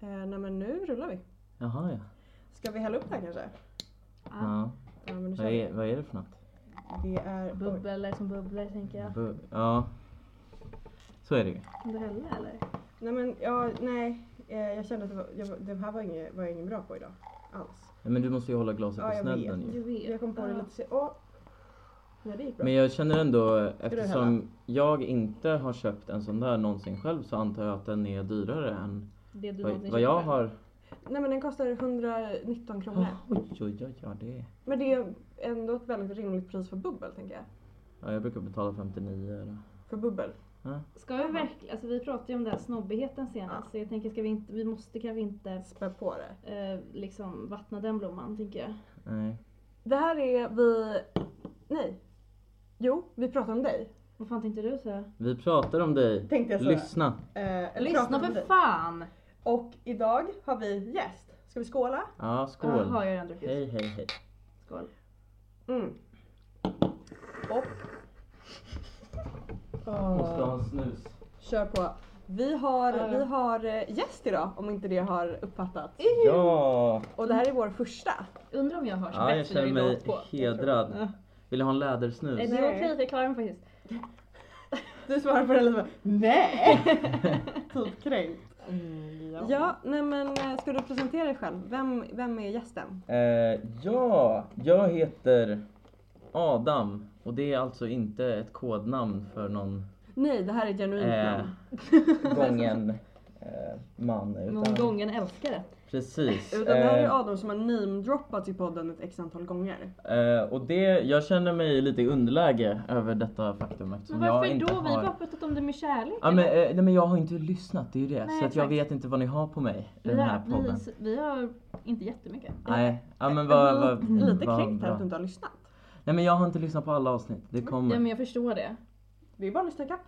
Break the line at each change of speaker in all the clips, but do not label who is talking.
Eh, nej men nu rullar vi.
Jaha ja.
Ska vi hälla upp det här kanske?
ja.
Ja men nu kör
Vad,
vi.
är, vad är det för något?
Det är... Oj.
Bubblar som bubblar tänker jag.
Bu- Ja. Så är det ju.
Kan du hälla eller?
Nej men ja, nej. Eh, jag kände att det, var, jag, var- det här var inget, var jag ingen bra på idag. Alls.
Nej, Men du måste ju hålla glaset
Ja,
på
jag
snedden
vet.
ju.
Du vet.
Jag kom på det
Ja.
lite se- Åh! Nej det gick bra.
Men jag känner ändå eftersom
hälla?
jag inte har köpt en sån där någonsin själv så antar jag att den är dyrare än
Det du
vad,
någonsin
vad jag
köper.
har.
Nej men den kostar 119 kronor.
Oh, oj oj oj ja, det är.
Men det är ändå ett väldigt rimligt pris för bubbel tänker jag.
Ja, jag brukar betala 59 eller.
För bubbel.
Ska vi verkligen, alltså vi pratade ju om den här snobbigheten senast.
Ja.
Så jag tänker, ska vi inte, vi måste kanske inte
Spä på det.
eh, liksom vattna den blomman tänker jag.
Nej.
Det här är vi... Nej. Jo, vi pratar om dig.
Vad fan tänkte du säga?
Vi pratar om dig.
Tänkte jag säga.
Lyssna.
Eh, eller
Lyssna
pratar om
för
dig.
fan!
Och idag har vi gäst. Ska vi skåla?
Ja, skål.
Jaha, jag har redan druckit.
Hej hej hej.
Skål.
Mm. Och...
Måste ha en snus.
Ah, Kör på. Vi har,
Ja, ja.
vi har eh, gäst idag om inte det har uppfattats.
Ja.
Och det här är vår första.
Undrar om jag hörs
Ja, jag
bättre
känner
när det är
mig
låt på.
hedrad.
Ja.
Vill du ha en
Eh,
lädersnus?
Det
Nej.
var okej, jag klarar mig faktiskt.
Du svarar på det lite nej. typ kränkt.
Mm,
Ja, nej men eh, ska du presentera dig själv? Vem, vem är gästen?
Eh, ja, jag heter Adam och det är alltså inte ett kodnamn för någon
Nej, det här är ett genuint
Eh.
namn.
gången eh, man.
Någon
Utan,
gången älskare.
Precis.
Utan det här
Eh,
är Adam som har namedroppats i podden ett x antal gånger.
eh, och det, jag känner mig lite i underläge över detta faktum
Men
eftersom jag
varför
inte
då? Vi har
har...
bara pratat om det med kärlek.
Ja,
eller?
men, eh, nej, men jag har inte lyssnat, det är ju det.
Nej,
så att jag
exakt.
vet inte vad ni har på mig i
vi,
den här
har,
podden.
vi, vi har inte jättemycket.
Nej, ja, men vad... vad
Lite
vad
kränkt här
bra.
att du inte har lyssnat.
Nej men jag har inte lyssnat på alla avsnitt, det
Ja,
kommer.
men jag förstår det.
Det är bara att lyssna ikapp.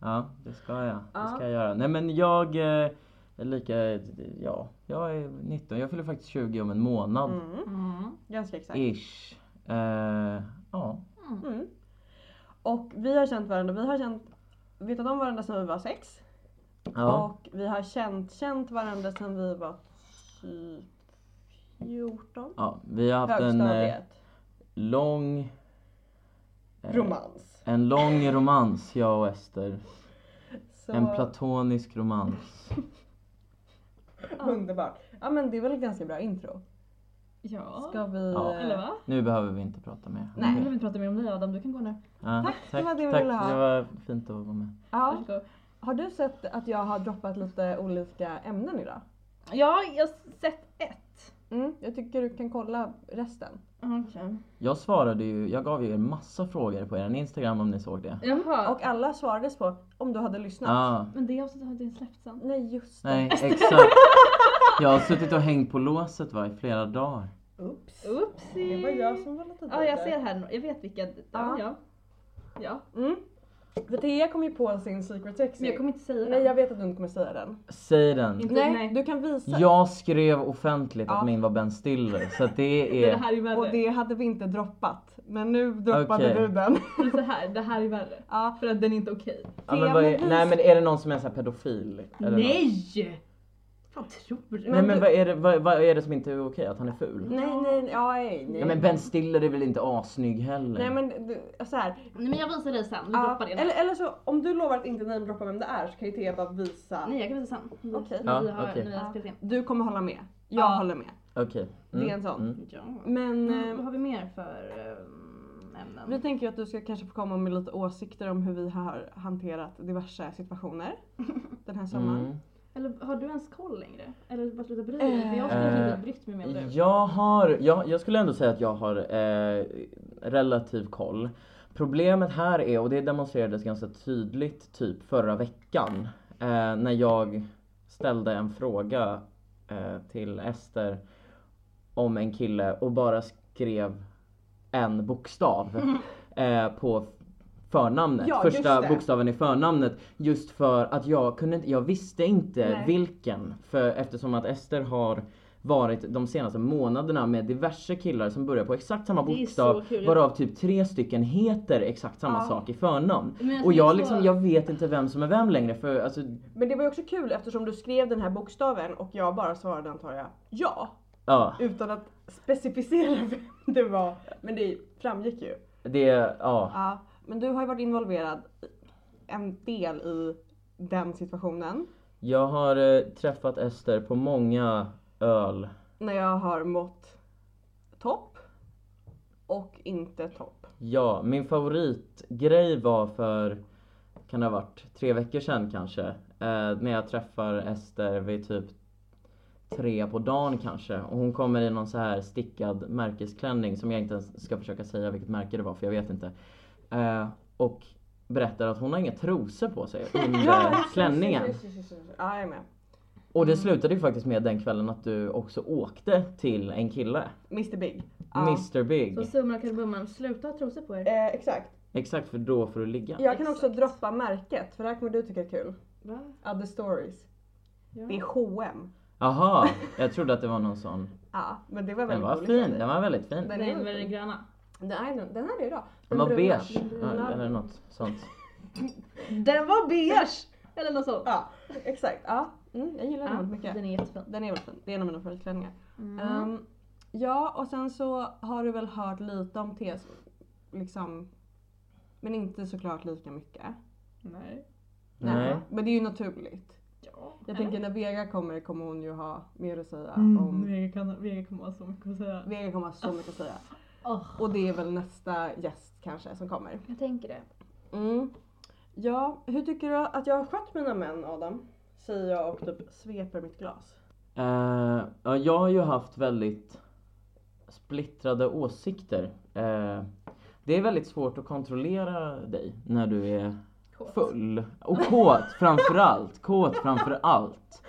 Ja, det ska jag.
Ja.
Det ska jag göra. Nej men jag eh, är lika, ja, jag är 19. Jag fyller faktiskt 20 om en månad.
Mm.
Mm.
Ganska exakt.
Ish. Eh, ja.
Mm. Och vi har känt varandra, vi har känt, vetat om varandra sedan vi var sex.
ja.
Och vi har känt, känt varandra sedan vi var typ 14.
Ja, vi har haft en eh,
Högstadiet.
lång... eh,
Romans.
En lång romans, jag och Ester.
Så,
En platonisk romans.
Underbart. Ja men det är väl ett ganska bra intro.
Ja.
Ska vi...
Ja.
eh,
Eller va?
Nu behöver vi inte prata mer. om
Nej. Nu
det.
vill vi inte prata mer om dig Adam, du kan gå nu.
Ja,
Tack, det var det vi
tack.
ville ha.
Det var fint att vara med.
Ja.
Varsågod.
Har du sett att jag har droppat lite olika ämnen idag?
Ja, jag har sett ett.
Mm, jag tycker du kan kolla resten.
Okay.
Jag svarade ju, jag gav ju er massa frågor på er Instagram om ni såg det.
Jaha.
Och alla svarades på om du hade lyssnat.
Ja,
Mm. Men det avsnittet har inte släppts än.
Nej just det.
Nej, exakt. Jag har suttit och hängt på låset va, i flera dagar.
Oops.
Oopsie.
Det var jag som var lite
Ja, jag
dålig.
ser här. Jag vet vilka. Ja.
Ja.
ja. ja.
Mm. För Thea kom ju på sin secret sexy.
Men jag kommer inte säga
Nej
det.
jag vet att du inte kommer säga den.
Säg den.
Inte-
Nej,
Nej.
du kan visa.
Jag skrev offentligt
Ja.
att min var Ben Stiller, så att det
Det, det
är...
här är värre.
Och det hade vi inte droppat. Men nu droppade
Okej.
du den.
Men så här, det här är värre.
ja.
För att den är inte okej.
Ja, men vad är... Nej men är det någon som är så här pedofil? Eller något?
Nej! Fan tror du?
Nej men vad är, det, vad, vad är det som inte är okej? Att han är ful?
Nej nej ja, nej. nej.
Ja men Ben Stiller är väl inte assnygg heller?
Nej men du, så här.
Nej, men jag visar dig sen, vi
Ja,
droppar det.
eller, eller så om du lovar att inte namedroppa vem det är så kan ju Thea bara visa.
Nej jag kan visa sen.
Okej.
När vi
Ja,
har,
okej.
när vi har spelat in.
Du kommer hålla med. Jag
Ja.
håller med.
Okej. Mm,
Det är en sån.
mm.
Ja.
Men
Mm,
eh,
vad har vi mer för ehm, ämnen?
vi tänker ju att du ska kanske få komma med lite åsikter om hur vi har hanterat diverse situationer den här sommaren.
Mm.
Eller har du ens koll längre? Eller bara sluta bry dig? För jag har
Eh,
kanske inte brytt mig mer än du.
Jag har, jag, jag skulle ändå säga att jag har eh, relativ koll. Problemet här är, och det demonstrerades ganska tydligt typ förra veckan, eh, när jag ställde en fråga eh, till Ester om en kille och bara skrev en bokstav eh, på förnamnet.
Ja, just
Första
det.
bokstaven i förnamnet. Just för att jag kunde inte, jag visste inte
Nej.
vilken. För, eftersom att Ester har varit de senaste månaderna med diverse killar som börjar på exakt samma
Det är
bokstav
så kul.
varav typ tre stycken heter exakt samma
Ja.
sak i förnamn.
Men alltså,
Och
det är
jag,
så-
liksom, jag vet inte vem som är vem längre för alltså,
Men det var ju också kul eftersom du skrev den här bokstaven och jag bara svarade antar jag ja.
ja.
Utan att specificera vem det var. Men det framgick ju.
Det, ja.
Ja, men du har ju varit involverad en del i den situationen.
Jag har eh, träffat Ester på många öl.
När jag har mått topp och inte topp.
Ja, min favoritgrej var för, kan det ha varit, tre veckor sedan kanske. Eh, när jag träffar Ester vid typ tre på dagen kanske. Och hon kommer i någon så här stickad märkesklänning som jag inte ens ska försöka säga vilket märke det var för jag vet inte. Eh, och berättar att hon har inga trosor på sig under klänningen.
Ja, jag är med.
Och det slutade ju faktiskt med den kvällen att du också åkte till en kille.
Mr Big. Ja.
Mr Big.
Så summan och kardemumman, sluta ha trosor på er.
Eh, exakt.
Exakt, för då får du ligga.
Jag kan också
Exakt.
droppa märket för det här kommer du tycka är kul.
Va?
Other stories. Det är
Ja.
H&M.
Jaha, jag trodde att det var någon sån.
Ja, men det var
Den
väldigt
var
roligt
fin,
av dig.
den var väldigt fin.
Den-
Nej, men den gröna.
Nej, den, den här är bra.
Den var
bruna-
beige,
den
ja,
bruna-
eller något sånt.
Den var beige! Eller något sånt.
Ja, exakt. Ja, mm, jag gillar den
Ja,
väldigt mycket.
den är jättefin.
Den är väldigt fin. Det är en av mina favoritklänningar.
Mm.
Ehm, ja, och sen så har du väl hört lite om TS, liksom, men inte såklart lika mycket.
Nej.
Nej.
Men det är ju naturligt.
Ja.
Jag tänker när Vega kommer kommer hon ju ha mer att säga
Mm.
om.
Vega, kan, Vega kommer ha så mycket att säga.
Vega kommer ha så mycket att säga.
Åh,
Och det är väl nästa gäst kanske som kommer.
jag tänker det.
Mm. Ja, hur tycker du att jag har skött mina män Adam? Säger jag och typ sveper mitt glas.
Eh, ja, jag har ju haft väldigt splittrade åsikter. Eh, det är väldigt svårt att kontrollera dig när du är
Kåt.
full. Och kåt framförallt. Kåt framförallt.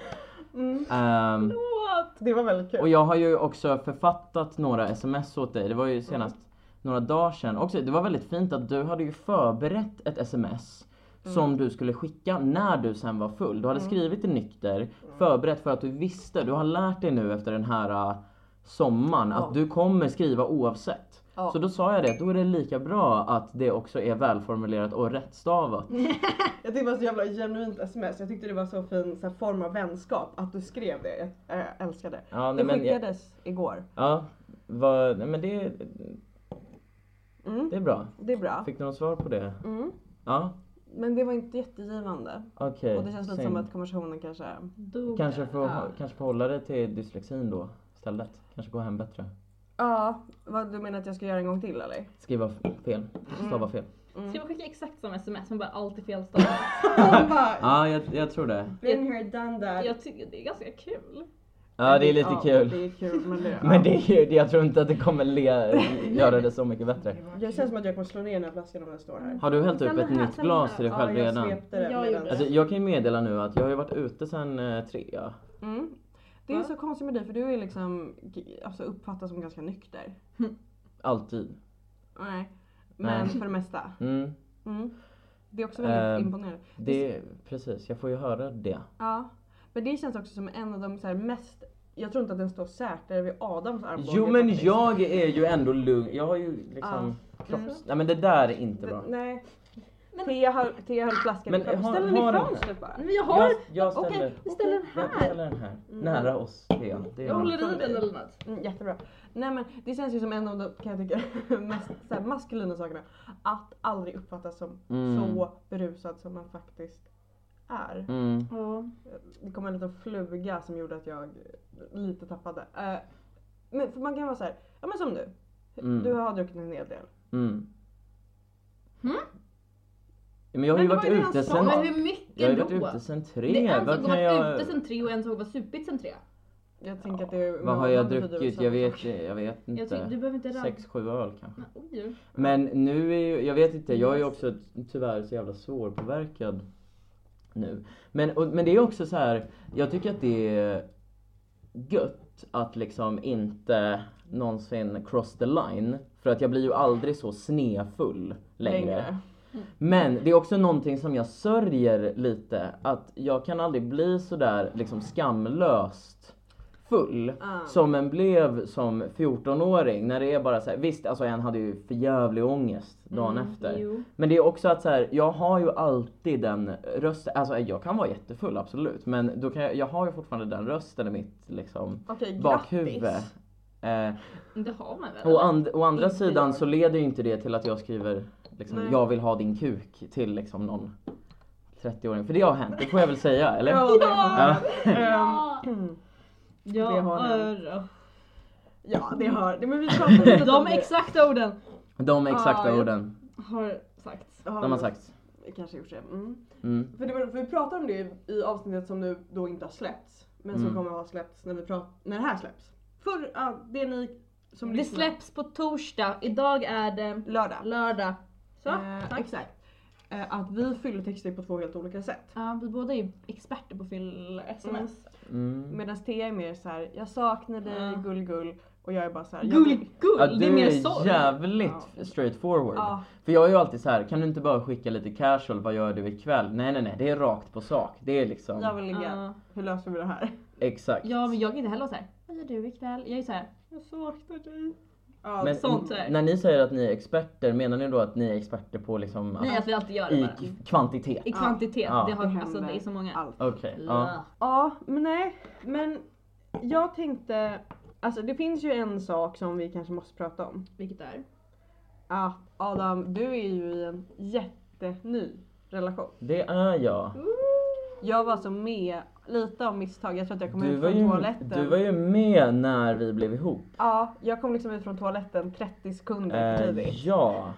Mm.
Um,
What?
Det var väldigt kul.
Och jag har ju också författat några sms åt dig, det var ju
Mm.
senast några dagar sedan. Också, det var väldigt fint att du hade ju förberett ett sms
Mm.
som du skulle skicka när du sen var full. Du hade skrivit det
Mm.
nykter, förberett för att du visste, du har lärt dig nu efter den här äh, sommaren
Ja.
att du kommer skriva oavsett.
Ja.
Så då sa jag det, då är det lika bra att det också är välformulerat och rättstavat.
Jag tyckte det var så jävla genuint sms. Jag tyckte det var så fin så här, form av vänskap att du skrev det. Jag eh, älskar det.
Ja, nej,
det
men, jag-
skickades igår.
ja, vad- nej, men det,
Mm,
det är bra.
det är bra.
Fick du något svar på det?
Mm.
Ja,
Men det var inte jättegivande.
okej.
Och det känns lite
synd.
som att konversationen kanske...
Dog.
Kanske få,
Ja.
kanske få hålla dig till dyslexin då istället. Kanske gå hem bättre.
Ja, vad du menar att jag ska göra en gång till eller?
Skriva f- fel. Stava fel.
Mm.
Ska man skicka exakt samma sms men bara alltid fel stavat?
Hon bara,
Ja, jag, jag tror det.
been here done that.
jag tycker det är ganska kul.
Ja, det är lite kul.
Det är kul men det...
Men det är ju, det- jag tror inte att det kommer le, göra det så mycket bättre.
Jag känns som att jag kommer slå ner den här flaskan om den står här.
Har du hällt upp
Samma
ett
här,
nytt
samma
glas
här.
till dig
Ja,
själv
jag
redan?
svepte den
Jag
med
gjorde
den.
det.
Alltså, jag kan ju meddela nu att jag har ju varit ute sen eh, tre.
Mm. Det är
Va?
så konstigt med dig för du är liksom alltså, uppfattas som ganska nykter.
Alltid.
Nej. Men
Nej.
för det mesta.
Mm.
Mm. Det är också väldigt
Ehm.
imponerande.
Det, precis, jag får ju höra det.
Ja. Men det känns också som en av de så här mest, jag tror inte att den står säkrare vid Adams armbåge.
Jo men
faktiskt.
jag är ju ändå lugn. Jag har ju liksom
Mm.
kropps... Nej men det där är inte
Den-
bra.
Nej.
Men-
Thea höll, Thea höll flaskan
Men
i fram-
har-
Ställ den i
har den-
fönstret bara.
Men jag har...
Jag, jag
Okej,
ställer...
vi ställer den
Jag
här.
ställer den här.
Mm.
Nära oss. Det är, det
Jag
är
håller i den eller något.
Mm, jättebra. Nej men det känns ju som en av de, kan jag tycka, mest så här, maskulina sakerna. Att aldrig uppfattas som
Mm.
så berusad som man faktiskt är.
Mm.
Ja.
Det kom en liten fluga som gjorde att jag lite tappade. Eh, men för man kan vara så här, ja men som du.
Mm.
Du har druckit en hel del.
Mm.
Mm?
Men jag har
Men
ju
det
varit
var ju det
ute
han sa.
sen...
Men
Men hur
Jag har
mycket
ju varit
då?
ute sen
Det
tre.
är alltså, en sak
Vad
att
kan
vara
jag...
ute sen tre och en sak att vara supit sen tre.
Jag tänker att det är...
Vad har jag
betyder
druckit?
samma
Jag
sak.
vet, jag vet
Jag tycker, du
inte.
behöver inte rabbla.
Sex, sju öl kanske.
Men Oj.
Men nu är ju, jag vet inte, jag är ju också tyvärr så jävla svårpåverkad nu. Men, och, men det är också så här, jag tycker att det är gött att liksom inte någonsin cross the line. För att jag blir ju aldrig så snefull längre. Men det är också någonting som jag sörjer lite, att jag kan aldrig bli sådär liksom skamlöst full
Ah.
som en blev som 14-åring när det är bara så här, visst alltså en hade ju förjävlig ångest dagen
Mm,
efter.
Jo.
Men det är också att så här, jag har ju alltid den rösten, alltså jag kan vara jättefull absolut men då kan jag, jag har ju fortfarande den rösten i mitt liksom
Okej,
bakhuvud.
grattis.
Eh,
Men Det har man väl?
å, and, å andra
Inte
sidan
jag.
så leder ju inte det till att jag skriver liksom,
Nej.
jag vill ha din kuk till liksom någon 30-åring. För det har hänt, det får jag väl säga eller?
Ja, det har
Ja.
den. Ehm,
Ja,
mm.
ja
det har den.
örra.
Ja, det har det. Men vi pratade lite om
De
det.
exakta orden
De exakta
Ja, jag-
orden,
har sagts.
Ja,
de har sagt.
vi Kanske gjort det. Mm.
Mm.
För det var, för vi pratade om det i- i avsnittet som nu då inte har släppts. Men som
Mm.
kommer att ha släppts när, vi prat, när det här släpps. För ja, det är ni som
Det
lyssnar.
släpps på torsdag. Idag är det
lördag.
lördag. Så,
Eh,
tack.
exakt. Eh, att vi fyller texter på två helt olika sätt.
Ja, vi båda är ju experter på fyll-sms.
Mm.
Medan Thea är mer så här: jag saknar dig
Ja.
gull gull och jag är bara såhär
Gull-gull!
Ja,
det är
du
mer
är
sorg.
jävligt
Ja.
straight forward.
Ja,
För jag är ju alltid så här, kan du inte bara skicka lite casual, vad gör du ikväll? Nej nej nej, det är rakt på sak. Det är liksom,
jag vill ligga.
Ja.
Hur löser vi det här?
exakt.
Ja men jag är inte heller såhär, vad gör du ikväll? Jag är såhär, jag saknar dig.
Ja,
Men
sånt är det.
när ni säger att ni är experter, menar ni då att ni är experter på liksom
Nej
att,
att vi alltid gör det
i
bara.
k- kvantitet?
I kvantitet,
Ja.
det, har,
Det
alltså,
händer
det är så många.
allt.
Okej, ja.
Ja.
Ja, men nej. Men jag tänkte, alltså det finns ju en sak som vi kanske måste prata om.
Vilket är?
Att Adam, du är ju i en jätteny relation.
Det är jag.
Jag var så med lite av misstag, jag tror att jag kom
Du
ut
var,
från
ju,
toaletten.
du var ju med när vi blev ihop.
Ja, jag kom liksom ut från toaletten 30 sekunder för
Eh,
tidigt.
ja.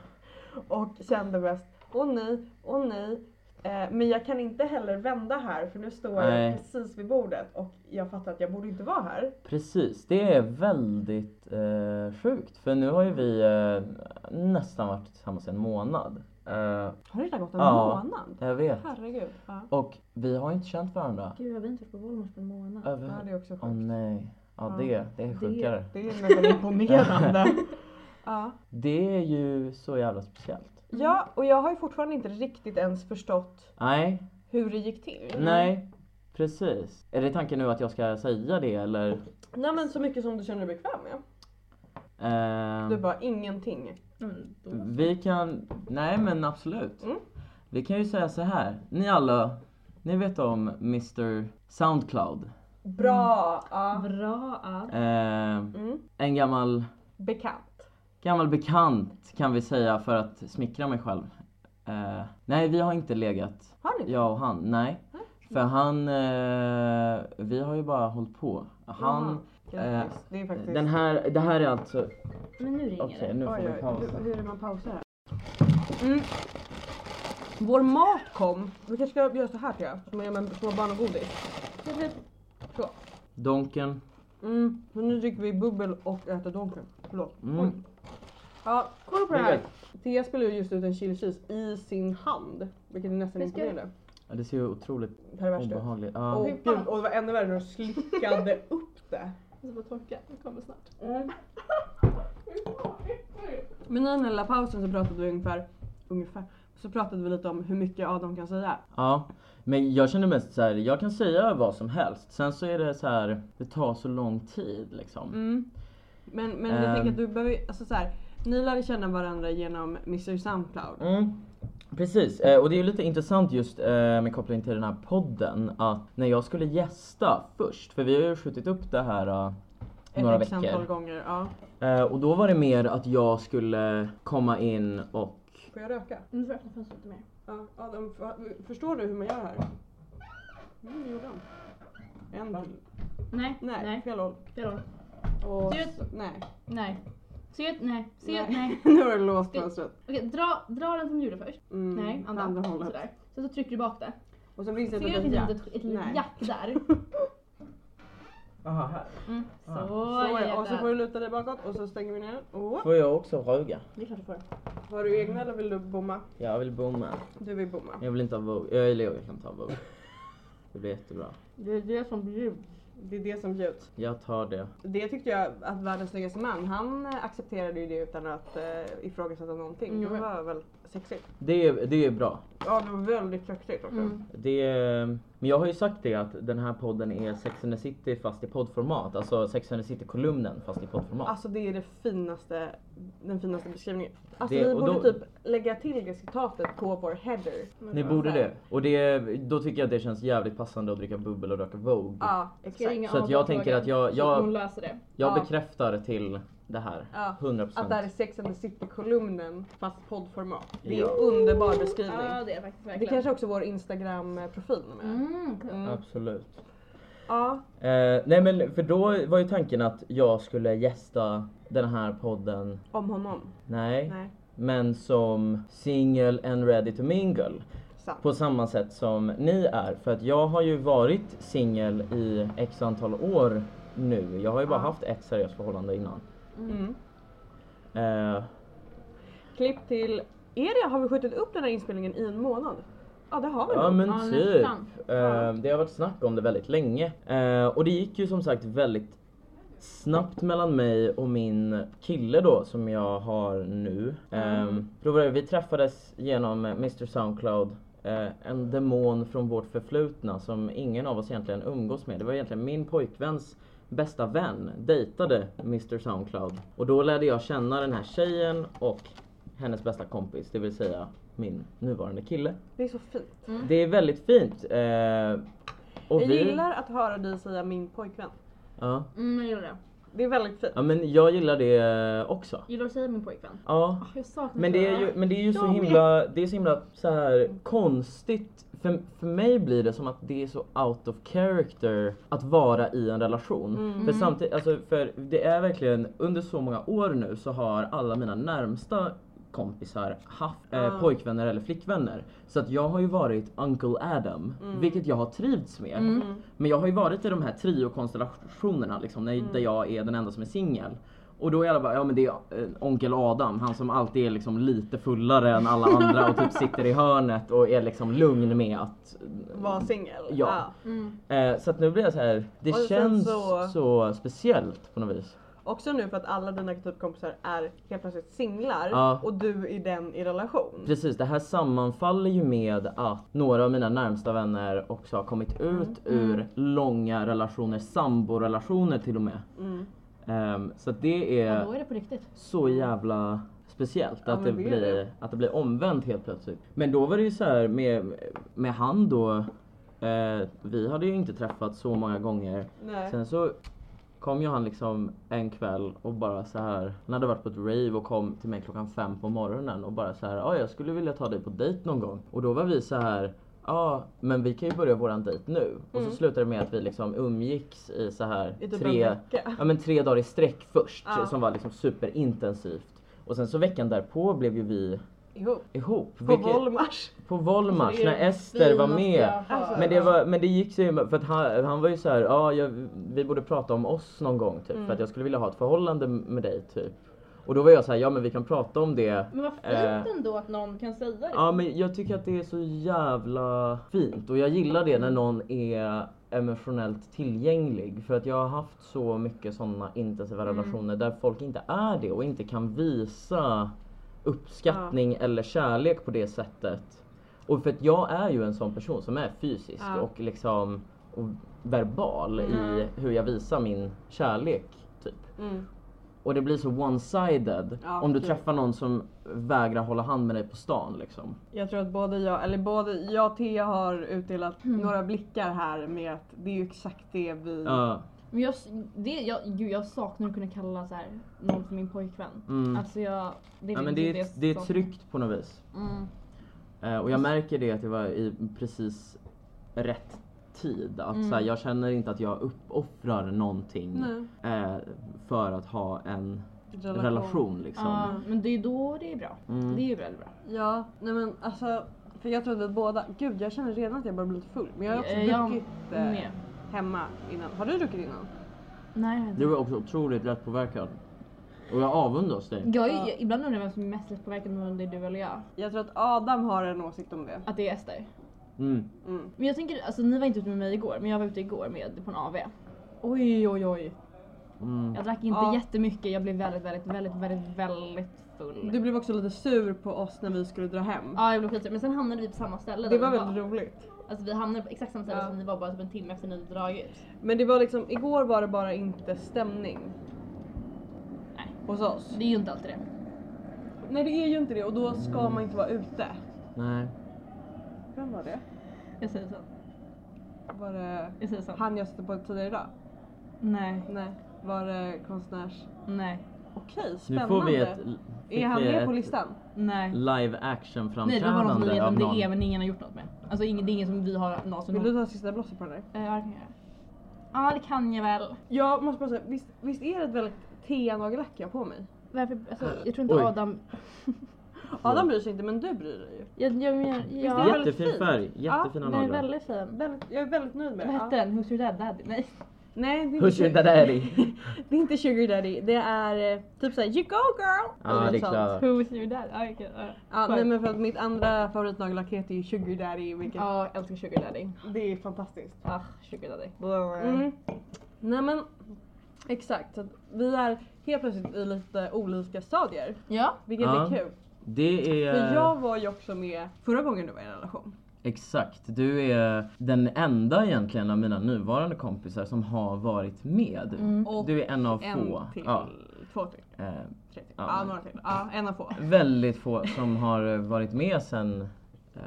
Och kände mest, åh nej, åh nej. Eh, men jag kan inte heller vända här för nu står jag
Nej.
precis vid bordet och jag fattar att jag borde inte vara här.
Precis, det är väldigt eh, sjukt för nu har ju vi eh, nästan varit tillsammans en månad. Eh,
Har det redan gått en
Ja.
månad?
jag vet.
Herregud. Ja.
Och vi har inte känt varandra.
Gud har vi inte varit på Volmars på en månad?
Ja,
Över...
det är också sjukt.
Åh nej. Ja
Ja.
det, det är sjukare.
Det är nästan imponerande. ja.
Det är ju så jävla speciellt.
ja, och jag har ju fortfarande inte riktigt ens förstått
Nej,
hur det gick till.
nej. Precis. Är det tanken nu att jag ska säga det eller?
Nej men så mycket som du känner dig bekväm
Mm.
med.
Eh,
Du bara ingenting.
Mm, då.
Vi kan, nej men absolut.
Mm.
Vi kan ju säga så här. ni alla, ni vet om Mr Soundcloud.
Bra! Ja.
Bra att...
Eh,
Mm.
en gammal,
Bekant.
gammal bekant kan vi säga för att smickra mig själv. Eh, nej vi har inte legat,
Har ni?
jag och han, nej. För han, eh, vi har ju bara hållit på. Han, eh,
Jaha. Grattis. det är faktiskt...
den här, det här är alltså,
Men nu ringer
okej
det.
nu får
Oj,
vi
oj,
pausa.
hur- Hur är man pausar här? Mm. Vår mat kom. Vi kanske ska göra så här tror jag. Som jag gör med små barn och godis. Så.
Donken.
Mm. Så nu dricker vi bubbel och äter donken. Förlåt. Oj.
Mm.
Ja, kolla på det
Det är
här. Thea spelar ju just ut en chili cheese i sin hand. Vilket är nästan
Men ska-
imponerande.
Ja, det ser ju otroligt
Perverst ut.
obehagligt ut.
Åh
Ja.
gud, och det var ännu värre när hon slickade upp det.
Jag ska bara torka, det kommer snart.
Mm. Men i den här lilla pausen så pratade vi ungefär, ungefär, så pratade vi lite om hur mycket Adam kan säga.
Ja, men jag känner mest så här, jag kan säga vad som helst. Sen så är det så här, det tar så lång tid liksom.
Mm. Men, men jag
Ehm.
tänker att du behöver, alltså så här, ni lärde känna varandra genom Mr Soundcloud.
Mm. Precis, eh, och det är ju lite intressant just eh, med koppling till den här podden att när jag skulle gästa först, för vi har ju skjutit upp det här eh, några
Ett x antal
veckor.
gånger. Ja.
Eh, och då var det mer att jag skulle komma in och
Får jag röka?
Nu får jag öppna fönstret lite mer.
Ja, Adam, f- förstår du hur man gör här? Mm, det gjorde han. En till.
Nej,
Nej,
nej,
fel håll.
fel håll.
Och,
Du-
s- nej.
Nej. Se ett nej, se ett nej.
nu har du låst fönstret.
Okej, dra, dra den som du gjorde först.
Mm,
Nej, andra.
andra hållet.
Sådär. Sen så trycker du bak det.
Och sen finns det
Ser
ett
du att det
litet
finns
jack.
ett, ett litet
Nej.
jack där?
Aha, här.
Mm. Så,
Så
Ah.
ja, och så får
jävlar.
du luta dig bakåt och så stänger vi ner. Och,
Får jag också fråga?
Det är klart du får.
har du egna eller vill du bomma?
Jag vill bomma.
Du vill bomma.
Jag vill inte ha Vogue. Jag, eller jo, jag kan ta Vogue. Det blir jättebra.
Det är det som bjuds.
Det är det som bjuds.
Jag tar det.
Det tyckte jag att världens snyggaste man, han eh, accepterade ju det utan att eh, ifrågasätta någonting.
Mm.
Det var väl sexigt.
Det, är- det är bra.
Ja, det var väldigt sexigt också.
Mm.
Det är, men jag har ju sagt det att den här podden är Sex and the City fast i poddformat. Alltså Sex and the City-kolumnen fast i poddformat.
Alltså det är det finaste, den finaste beskrivningen. Alltså
Det-
vi
och
borde
då-
typ lägga till det citatet på vår header.
Ni borde det. Och det, då tycker jag att det känns jävligt passande att dricka bubbel och röka Vogue.
Ja,
Ska
exakt.
ringa
Så att
Adam
jag
och fråga
tänker att jag-
så att
jag-
hon löser det.
Jag
Ja.
bekräftar till det här.
Ja.
100%.
Att det här är Sex and the City-kolumnen fast poddformat. Det är
Ja.
en underbar beskrivning.
Ja
Typ.
det är faktiskt
Det
verkligen.
kanske också vår Instagram-profil med.
Mm.
Mm.
Absolut.
Ja,
Eh, nej men för då var ju tanken att jag skulle gästa den här podden,
om honom.
nej,
Nej,
men som single and ready to mingle.
sant.
På samma sätt som ni är. För att jag har ju varit singel i x antal år nu. Jag har ju bara
Ja.
haft ett seriöst förhållande innan.
Mm.
Eh,
Klipp till... Är det, har vi skjutit upp den här inspelningen i en månad? Ja, det har vi
Ja
nog.
men
Ja,
typ.
nästan.
Eh, det har varit snack om det väldigt länge. Eh, och det gick ju som sagt väldigt snabbt mellan mig och min kille då som jag har nu. Eh, Då var det, vi träffades genom Mr Soundcloud. eh, en demon från vårt förflutna som ingen av oss egentligen umgås med. Det var egentligen min pojkväns bästa vän dejtade Mr Soundcloud. Och då lärde jag känna den här tjejen och hennes bästa kompis, det vill säga min nuvarande kille.
Det är så fint.
Det är väldigt fint. Eh, och
jag
vi,
gillar att höra dig säga min pojkvän.
ja.
Mm, jag gillar det.
Det är väldigt fint.
ja men jag gillar det eh, också.
Gillar att säga min pojkvän.
Ja.
Ah, Jag saknar
Men det är ju, men det är ju så himla, det är så himla så här konstigt. För, för mig blir det som att det är så out of character att vara i en relation.
Mm.
För samtidigt, alltså för det är verkligen under så många år nu så har alla mina närmsta kompisar haft eh,
Ah.
pojkvänner eller flickvänner. Så att jag har ju varit Uncle Adam,
Mm.
vilket jag har trivts med.
Mm.
Men jag har ju varit i de här triokonstellationerna liksom, när,
Mm.
där jag är den enda som är singel. Och då är alla bara, ja men det är eh, onkel Adam, han som alltid är liksom lite fullare än alla andra och typ sitter i hörnet och är liksom lugn med att...
Var singel.
Ja.
Mm.
Eh, så att nu blir jag så här, det
Och sen
känns så...
så-
speciellt på något vis.
Också nu för att alla dina typ kompisar är helt plötsligt singlar
Ja.
och du är den i relation.
Precis, det här sammanfaller ju med att några av mina närmsta vänner också har kommit
Mm.
ut ur långa relationer, samborelationer till och med.
Mm.
Ehm, så att det är...
Ja, då är det på riktigt.
så jävla speciellt
Ja,
att, det
men det är
blir,
det.
att det blir omvänt helt plötsligt. Men då var det ju så här med, med han då, eh, vi hade ju inte träffats så många gånger.
Nej.
Sen så kom ju han liksom en kväll och bara så här, han hade varit på ett rave och kom till mig klockan fem på morgonen och bara så här, ja jag skulle vilja ta dig på dejt någon gång. Och då var vi så här, ja men vi kan ju börja våran dejt nu. Och så
Mm.
slutade det med att vi liksom umgicks i så här
I typ
tre,
en vecka.
ja, men tre dagar i sträck först
Ja.
som var liksom superintensivt. Och sen så veckan därpå blev ju vi
Ihop.
ihop.
På Volmars.
på Volmars
Så är Alltså, det
när Ester var
finaste
med.
jag har hört.
Men det, var, men det gick så himla, för att han, han var ju så här, ja jag, vi borde prata om oss någon gång typ
Mm.
för att jag skulle vilja ha ett förhållande med dig typ. Och då var jag så här, ja men vi kan prata om det.
Men vad fint
Eh.
ändå att någon kan säga det.
Ja men jag tycker att det är så jävla fint och jag gillar det när någon är emotionellt tillgänglig för att jag har haft så mycket sådana intensiva
Mm.
relationer där folk inte är det och inte kan visa uppskattning eller kärlek på det sättet. Och för att jag är ju en sån person som är fysisk
Ja.
och liksom och verbal i hur jag visar min kärlek typ.
Mm.
Och det blir så one-sided
Ja,
om du
gud.
träffar någon som vägrar hålla hand med dig på stan liksom.
Jag tror att både jag, eller både jag och Thea har utdelat
Mm.
några blickar här med att det är ju exakt det vi...
Ja,
Men jag, det, jag, gud, jag saknar att kunna kalla så här, någon för min pojkvän.
Mm.
Alltså jag, det,
ja, men det, är, det är
som-
tryggt på något vis.
Mm.
Eh, och jag märker det att det var i precis rätt tid. Att så här, jag känner inte att jag uppoffrar någonting eh, för att ha en relation. liksom. Mm.
Ja, men det är då det är bra. Det är ju väldigt bra.
Ja, nej men alltså. För jag trodde att båda, gud jag känner redan att jag börjar bli lite full. Men jag har också
Eh, jag
druckit eh,
med.
hemma innan. Har du druckit innan?
Nej, jag vet inte.
Du är också otroligt lättpåverkad. Och jag avundas dig.
Jag, är ju- jag, ibland undrar jag vem som är mest lättpåverkad, om det är du eller jag.
Jag tror att Adam har en åsikt om det.
Att det är Ester.
Mm.
Mm.
Men jag tänker, alltså ni var inte ute med mig igår, men jag var ute igår med på en AV. Oj, oj, oj.
Mm.
Jag drack inte
Ja.
jättemycket, jag blev väldigt, väldigt, väldigt, väldigt, väldigt full.
Du blev också lite sur på oss när vi skulle dra hem.
Ja, jag blev skitsur. Men sen hamnade vi på samma ställe. där
Det
vi
var väldigt roligt.
Alltså vi hamnade på exakt samma ställe
Ja.
som ni var bara typ en timme efter ni hade dragit.
Men det var liksom, igår var det bara inte stämning.
Nej.
Hos oss.
Det är ju inte alltid det.
Nej det är ju inte det och då ska man inte vara ute.
Nej.
Vem var det?
Jag säger så.
Var det
Jag säger så.
han jag satte på tidigare idag?
Nej,
Nej. Var det konstnärs...
nej,
Okej,
Nu
spännande.
får vi ett... fick
Är han
vi
med på
ett
listan?
nej.
Live action
Nej det var någon som vi
framträdande
vet
av
om det
någon.
är men ingen har gjort något med. Alltså ingen, det är ingen som vi har någonsin
Vill
någon-
du ta sista blåset på den där?
Eh, Ja det kan jag göra. Ja det kan jag väl.
Jag måste bara säga, visst, visst är det ett väldigt T-nagellack jag har på mig?
Varför, alltså, jag tror inte
Oj.
Adam...
Adam bryr sig inte men du bryr dig ju.
Jag, jag, jag,
det är
jag,
väldigt
Jättefin
fint.
färg, jättefina
den är
naglar.
väldigt fin.
Väldigt, jag är väldigt nöjd med
Vad
det.
hette
Ja.
den? Who's your dad daddy? Nej.
Nej, det är
Push
inte
it
sugar.
daddy.
det är inte sugar daddy. Det är eh, typ såhär you go girl!
Ja
Eller
det är
sånt.
klart.
Who's your dad? Ja okej. ja.
Ja, nej men för att mitt andra favoritnagellack heter ju sugar daddy vilket
Ja jag älskar sugar daddy.
det är fantastiskt.
Ah sugar daddy.
Eh.
Mm. Nej men exakt, så att vi är helt plötsligt i lite olika stadier
Ja.
vilket
Ja. Eh.
är kul.
Det är...
För jag var ju också med förra gången du var i en relation.
Exakt, du är den enda egentligen av mina nuvarande kompisar som har varit med.
Mm.
Och
Du är en av
en
få.
till,
Ja,
två till,
eh,
tre till.
Ja,
Ja,
men-
några till. Ja, en av få.
väldigt få som har eh, varit med sen eh,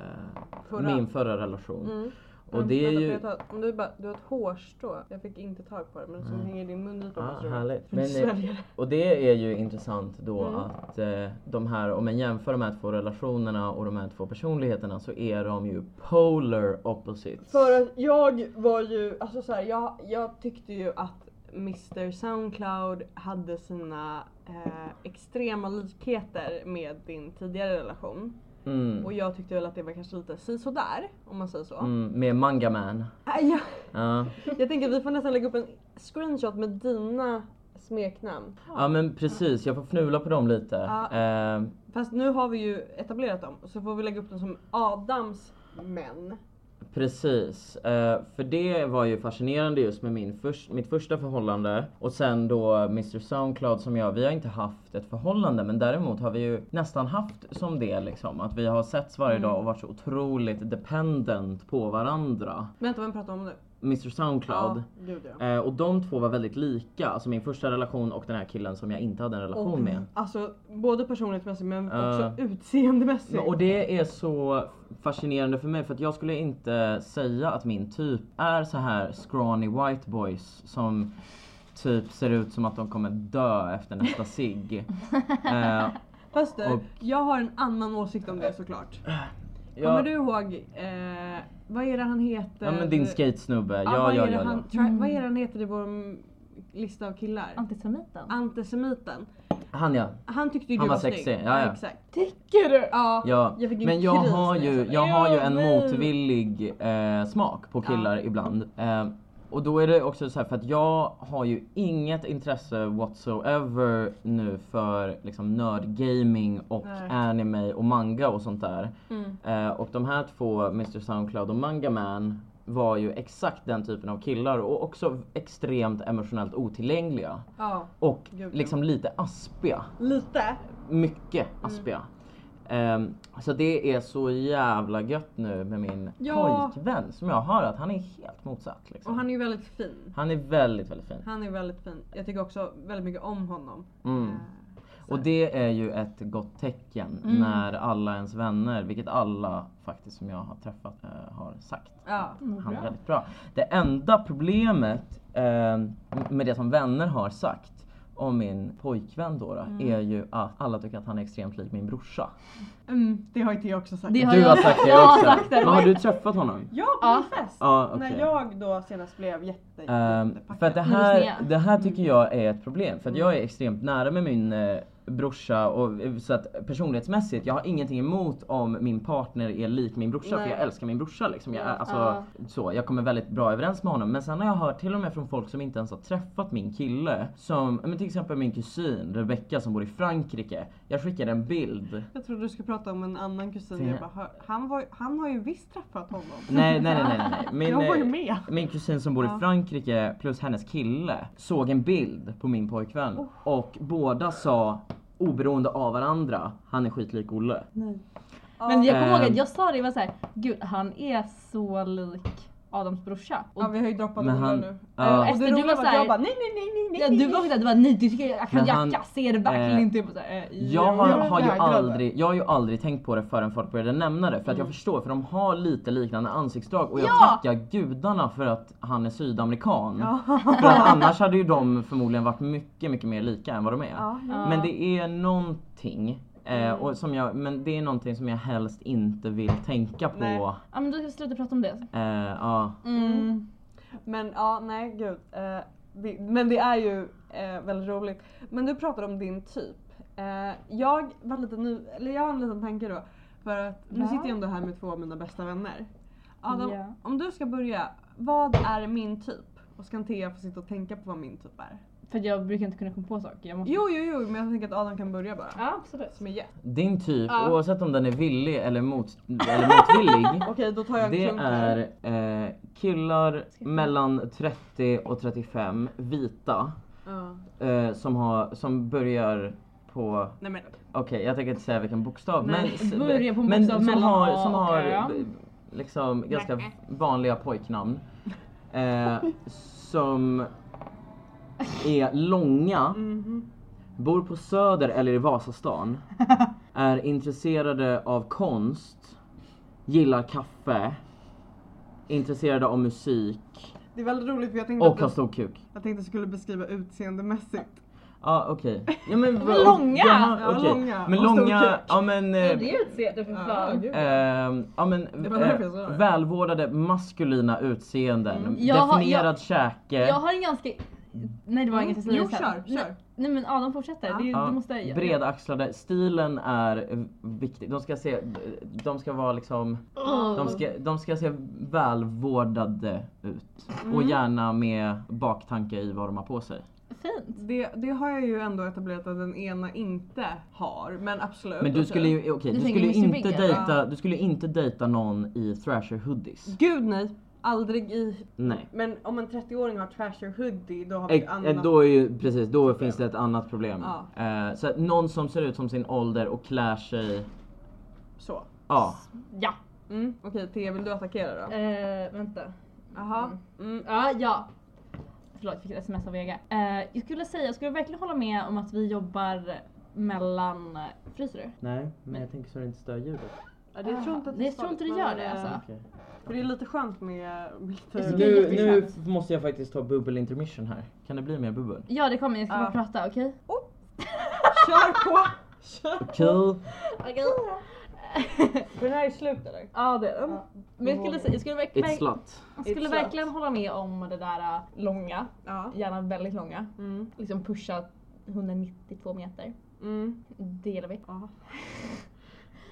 Förra.
min förra relation.
Mm.
Och det är
Vänta,
ju...
får jag ta- om du, bara, du har ett hårstrå, jag fick inte tag på det men som
Mm.
hänger i din mun lite.
Ja,
också.
härligt.
För du
Men, eh,
sväljer det.
Och det är ju intressant då
Mm.
att eh, de här, om man jämför de här två relationerna och de här två personligheterna så är de ju polar opposites.
För att jag var ju, alltså så här, jag, jag tyckte ju att Mr Soundcloud hade sina eh, extrema likheter med din tidigare relation.
Mm.
Och jag tyckte väl att det var kanske lite sisådär om man säger så.
Mm, med Manga Man.
Aj, jag,
Ja.
jag tänker att vi får nästan lägga upp en screenshot med dina smeknamn.
ja men precis, jag får fnula på dem lite.
Ja.
Eh,
Fast nu har vi ju etablerat dem så får vi lägga upp dem som Adams män.
Precis, eh, för det var ju fascinerande just med min förs- mitt första förhållande och sen då Mr Soundcloud som jag, vi har inte haft ett förhållande men däremot har vi ju nästan haft som det liksom att vi har setts varje dag och varit så otroligt dependent på varandra.
Vänta, vem pratar om nu?
Mr Soundcloud.
Ja, gud ja.
Eh, och de två var väldigt lika, alltså min första relation och den här killen som jag inte hade en relation
Och-
med.
Alltså både personlighetsmässigt men också
Ja.
utseendemässigt.
Men, och det är så fascinerande för mig för att jag skulle inte säga att min typ är så här scrawny white boys som typ ser ut som att de kommer dö efter nästa cigg. Eh,
Fast du,
Och-
jag har en annan åsikt om det såklart. Kommer
jag,
du ihåg, eh, vad är det han heter?
ja men din
Ja,
skatesnubbe, ja
vad,
ja
är det
ja. ja.
han, Tra- vad är det han heter i vår mm, lista av killar?
Antisemiten.
Antisemiten.
Han ja.
Han tyckte ju
Han
du
var
var
sexig,
snygg.
ja, ja.
Exakt.
Tycker du?
Ja,
Ja,
jag fick en
men jag
kris
har,
när
ju,
sa det.
jag har ju en
Ja, nej.
motvillig eh, smak på killar ibland. Eh, och då är det också så här för att jag har ju inget intresse whatsoever nu för liksom nördgaming och
Nej.
anime och manga och sånt där.
Mm.
Eh, och de här två, Mr Soundcloud och Manga Man var ju exakt den typen av killar och också extremt emotionellt otillgängliga.
Ja,
Och
Gud, ja.
liksom lite aspiga
lite.
mycket
Mm.
aspiga. Ehm, så det är så jävla gött nu med min
Ja.
pojkvän som jag har att han är helt motsatt. Liksom.
Och han
han...
är ju väldigt fin.
är väldigt, väldigt fin.
Han är väldigt fin. Jag tycker också väldigt mycket om honom.
Mm.
Eh, så
Och
här.
det är ju ett gott tecken
Mm.
när alla ens vänner, vilket alla faktiskt som jag har träffat eh, har sagt.
Ja.
Mm,
Han är
bra.
väldigt bra. Det enda problemet ehm, med det som vänner har sagt om min pojkvän då, då är ju att alla tycker att han är extremt lik min brorsa.
Mm, det har inte jag också sagt.
Det har
Du har
jag
sagt det
Jag har
också.
sagt det.
Men har du träffat honom?
Ja, på
Ja.
min fest.
Ja, okej.
När jag då senast blev jätte,
Ehm,
jättepackad.
för att det
Nu är du
här,
sned. Mm.
det här tycker jag är ett problem. För att jag är extremt nära med min eh, brorsa och så att personlighetsmässigt, jag har ingenting emot om min partner är lik min brorsa för
Nej.
jag älskar min brorsa liksom. Jag,
Ja.
alltså,
Ja.
så, jag kommer väldigt bra överens med honom. Men sen har jag hört till och med från folk som inte ens har träffat min kille. Som men till exempel min kusin Rebecca som bor i Frankrike. Jag skickade en bild.
Jag trodde du skulle prata om en annan kusin.
Fina.
Jag bara, "Hör, han, var, han har ju visst träffat honom.
Nej nej nej nej. nej. Min,
jag var ju
eh,
med.
Min kusin som bor i
Ja.
Frankrike plus hennes kille såg en bild på min
Oh.
pojkvän och båda sa oberoende av varandra, han är skitlik Olle.
Nej.
Men jag kommer
Ehm.
ihåg att jag sa det, jag var såhär, gud han är så lik Adams brorsa. Och
Ja vi har ju droppat
Men
Olle
han-
nu.
ja.
Eh, och det
Esther, du
roliga
var
var
så
att
här-
jag bara nej nej nej nej nej.
Ja, du var också såhär, du bara nej du tycker jag kan
Men
jag,
han-
jag ser det verkligen
eh,
inte. Jag, bara så här, eh,
Jag har,
Jag
har, ju
vägrade.
aldrig, jag har ju aldrig tänkt på det förrän folk började nämna det för att
Mm.
jag förstår för de har lite liknande ansiktsdrag och jag
Ja!
tackar gudarna för att han är sydamerikan.
Ja.
För att annars hade ju de förmodligen varit mycket, mycket mer lika än vad de är.
Ja, ja. Mm.
Ja.
Men det är någonting, eh, och som jag, men det är någonting som jag helst inte vill tänka på.
Nej.
Ja men då ska vi sluta prata om det.
Eh, ja.
Mm. Men ja nej gud. Eh, det, men det är ju eh, väldigt roligt. Men du pratade om din typ. Eh, jag var lite ny, eller jag har en liten tanke då. För att nu
Ja.
sitter jag ändå här med två av mina bästa vänner. Adam,
Ja.
om du ska börja. Vad är min typ? Och så kan Thea få sitta och tänka på vad min typ är.
För att jag brukar inte kunna komma på saker. Jag måste...
Jo, jo, jo, men jag tänker att Adam kan börja bara.
Ja absolut.
Ehm.
Som är jätte.
Din typ,
Ja.
oavsett om den är villig eller, mot, eller motvillig,
Okej, då tar jag en
det
klunk
är
här.
eh, killar
Ska jag-
mellan 30 och 35, vita,
Ja.
eh, som, har, som börjar på
Nej men.
Okej, jag tänker inte säga vilken bokstav.
Nej,
men,
börja på en
men
bokstav
som
mellan
har,
A
som
och
har
Ö.
b- liksom ganska vanliga pojknamn. Eh, som är långa,
Mhm.
bor på Söder eller i Vasastan. Är intresserade av konst, gillar kaffe, intresserade av musik
Det är väldigt roligt för jag tänkte,
och har
att du,
stor kuk.
jag tänkte att du skulle beskriva utseendemässigt.
Ja okej. Ja, men,
Men
vad-
långa!
Ja,
okej.
långa
Men
och stor
långa,
kuk.
ja men... eh,
utseendet för
Ja, gud.
Ehm, ja, men,
Det var därför
eh,
jag sa det.
välvårdade maskulina utseenden,
Mm.
Jag har-
definierad käke,
Jag har en ganska... Nej det var inget jag skulle
Mm, Jo,
säga.
kör,
Nej,
kör.
Nej men Adam fortsätter.
Ja.
Det,
ja,
du måste... jag-
bredaxlade. Stilen är eh, viktig. De ska se, de ska vara liksom,
Åh.
de ska, de ska se välvårdade ut. Och
Mm.
gärna med baktanke i vad de har på sig.
Fint.
Det, det har jag ju ändå etablerat att den ena inte har, men absolut.
Men du
okej.
skulle ju, okej,
Du
du
tänker
skulle ju
Mr.
inte
Bigger?
dejta, du skulle ju inte dejta någon i thrasher hoodies.
Mm.
Gud nej. Aldrig i...
Nej.
Men om en 30-åring har trasher hoodie då har vi ett
Ex- eh,
annat.
Då är ju, precis, då finns det ett annat problem.
Ja.
Eh, så att någon som ser ut som sin ålder och klär sig,
Så.
ja.
Ja.
Mm. Okej Thea, vill du attackera då?
Eh, vänta.
Jaha. Mm.
Ja, ja. Förlåt, jag fick ett sms av Vega. Eh, jag skulle säga, jag skulle verkligen hålla med om att vi jobbar mellan... Fryser du?
Nej, men jag tänker så det inte stör ljudet.
Ja, det tror jag inte att
det
är
tror jag inte
farligt,
det gör
men,
det,
eh,
alltså.
För det är lite skönt med...
Det
lite...
blir
Nu, nu
jätteskönt.
måste jag faktiskt ta bubbel intermission här. Kan det bli mer bubbel?
Ja det kommer, jag ska
Ja.
bara prata, okej?
Kör på! Kör!
Cool.
Okej.
För den här är slut eller?
ja det är den.
Ja.
Men jag skulle, säga- jag skulle, verk,
It's
verk,
slut.
jag skulle
It's slut.
verkligen hålla med om det där eh, långa,
Ja.
gärna väldigt långa.
Mm.
Liksom pusha 192 meter.
Mm.
Det gillar vi.
Ja.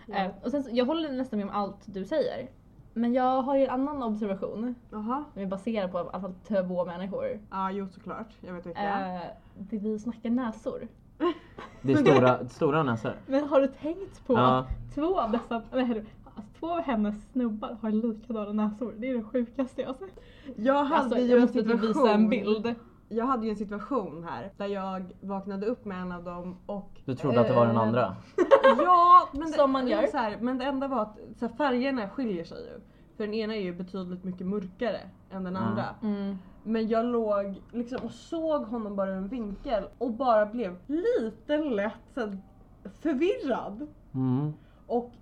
Eh, och sen, så- jag håller nästan med om allt du säger. Men jag har ju en annan observation
Jaha.
som är baserad på i alla fall två människor.
Ja, jo såklart. Jag vet vilka.
Eh, det vi snackar näsor.
Det är stora, stora näsor.
Men har du tänkt på
Ja.
att två av dessa, nej, herre, alltså, två av hennes snubbar har likadana näsor? Det är det sjukaste jag har sett.
Jag hade
Alltså,
ju
jag
en
måste typ
situation.
visa en bild.
Jag hade ju en situation här där jag vaknade upp med en av dem och
Du trodde att det var den
Eh,
andra.
ja, men det,
Som man
det är
gör.
Så här, men det enda var att så här, färgerna skiljer sig ju. För den ena är ju betydligt mycket mörkare än den
Mm.
andra. Men jag låg liksom och såg honom bara ur en vinkel och bara blev lite lätt så här, förvirrad.
Mm.
Och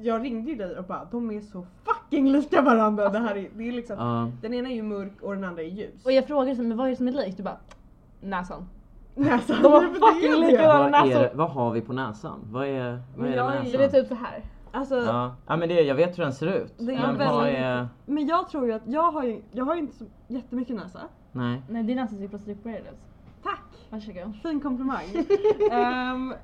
jag ringde ju dig och bara de är så fucking lika varandra. Det här är, det är liksom,
Ja.
Den ena är ju mörk och den andra är ljus.
Och jag frågade så, men vad är det som är likt? Du bara näsan.
Alltså,
De var fucking likadana.
vad, är,
näsor.
det- vad har vi på näsan? Vad är, vad
Men
är det
jag
med
är-
Det är
näsan?
typ så här.
Alltså,
Ja. ja men det, jag vet hur den ser ut.
Det är
men vad
väldigt-
är...
Men jag tror ju att jag har ju, jag har ju inte så jättemycket näsa.
Nej.
Nej det är nästan som vi plåstrar upp på det.
Tack!
Varsågod.
Fin komplimang. Ehm,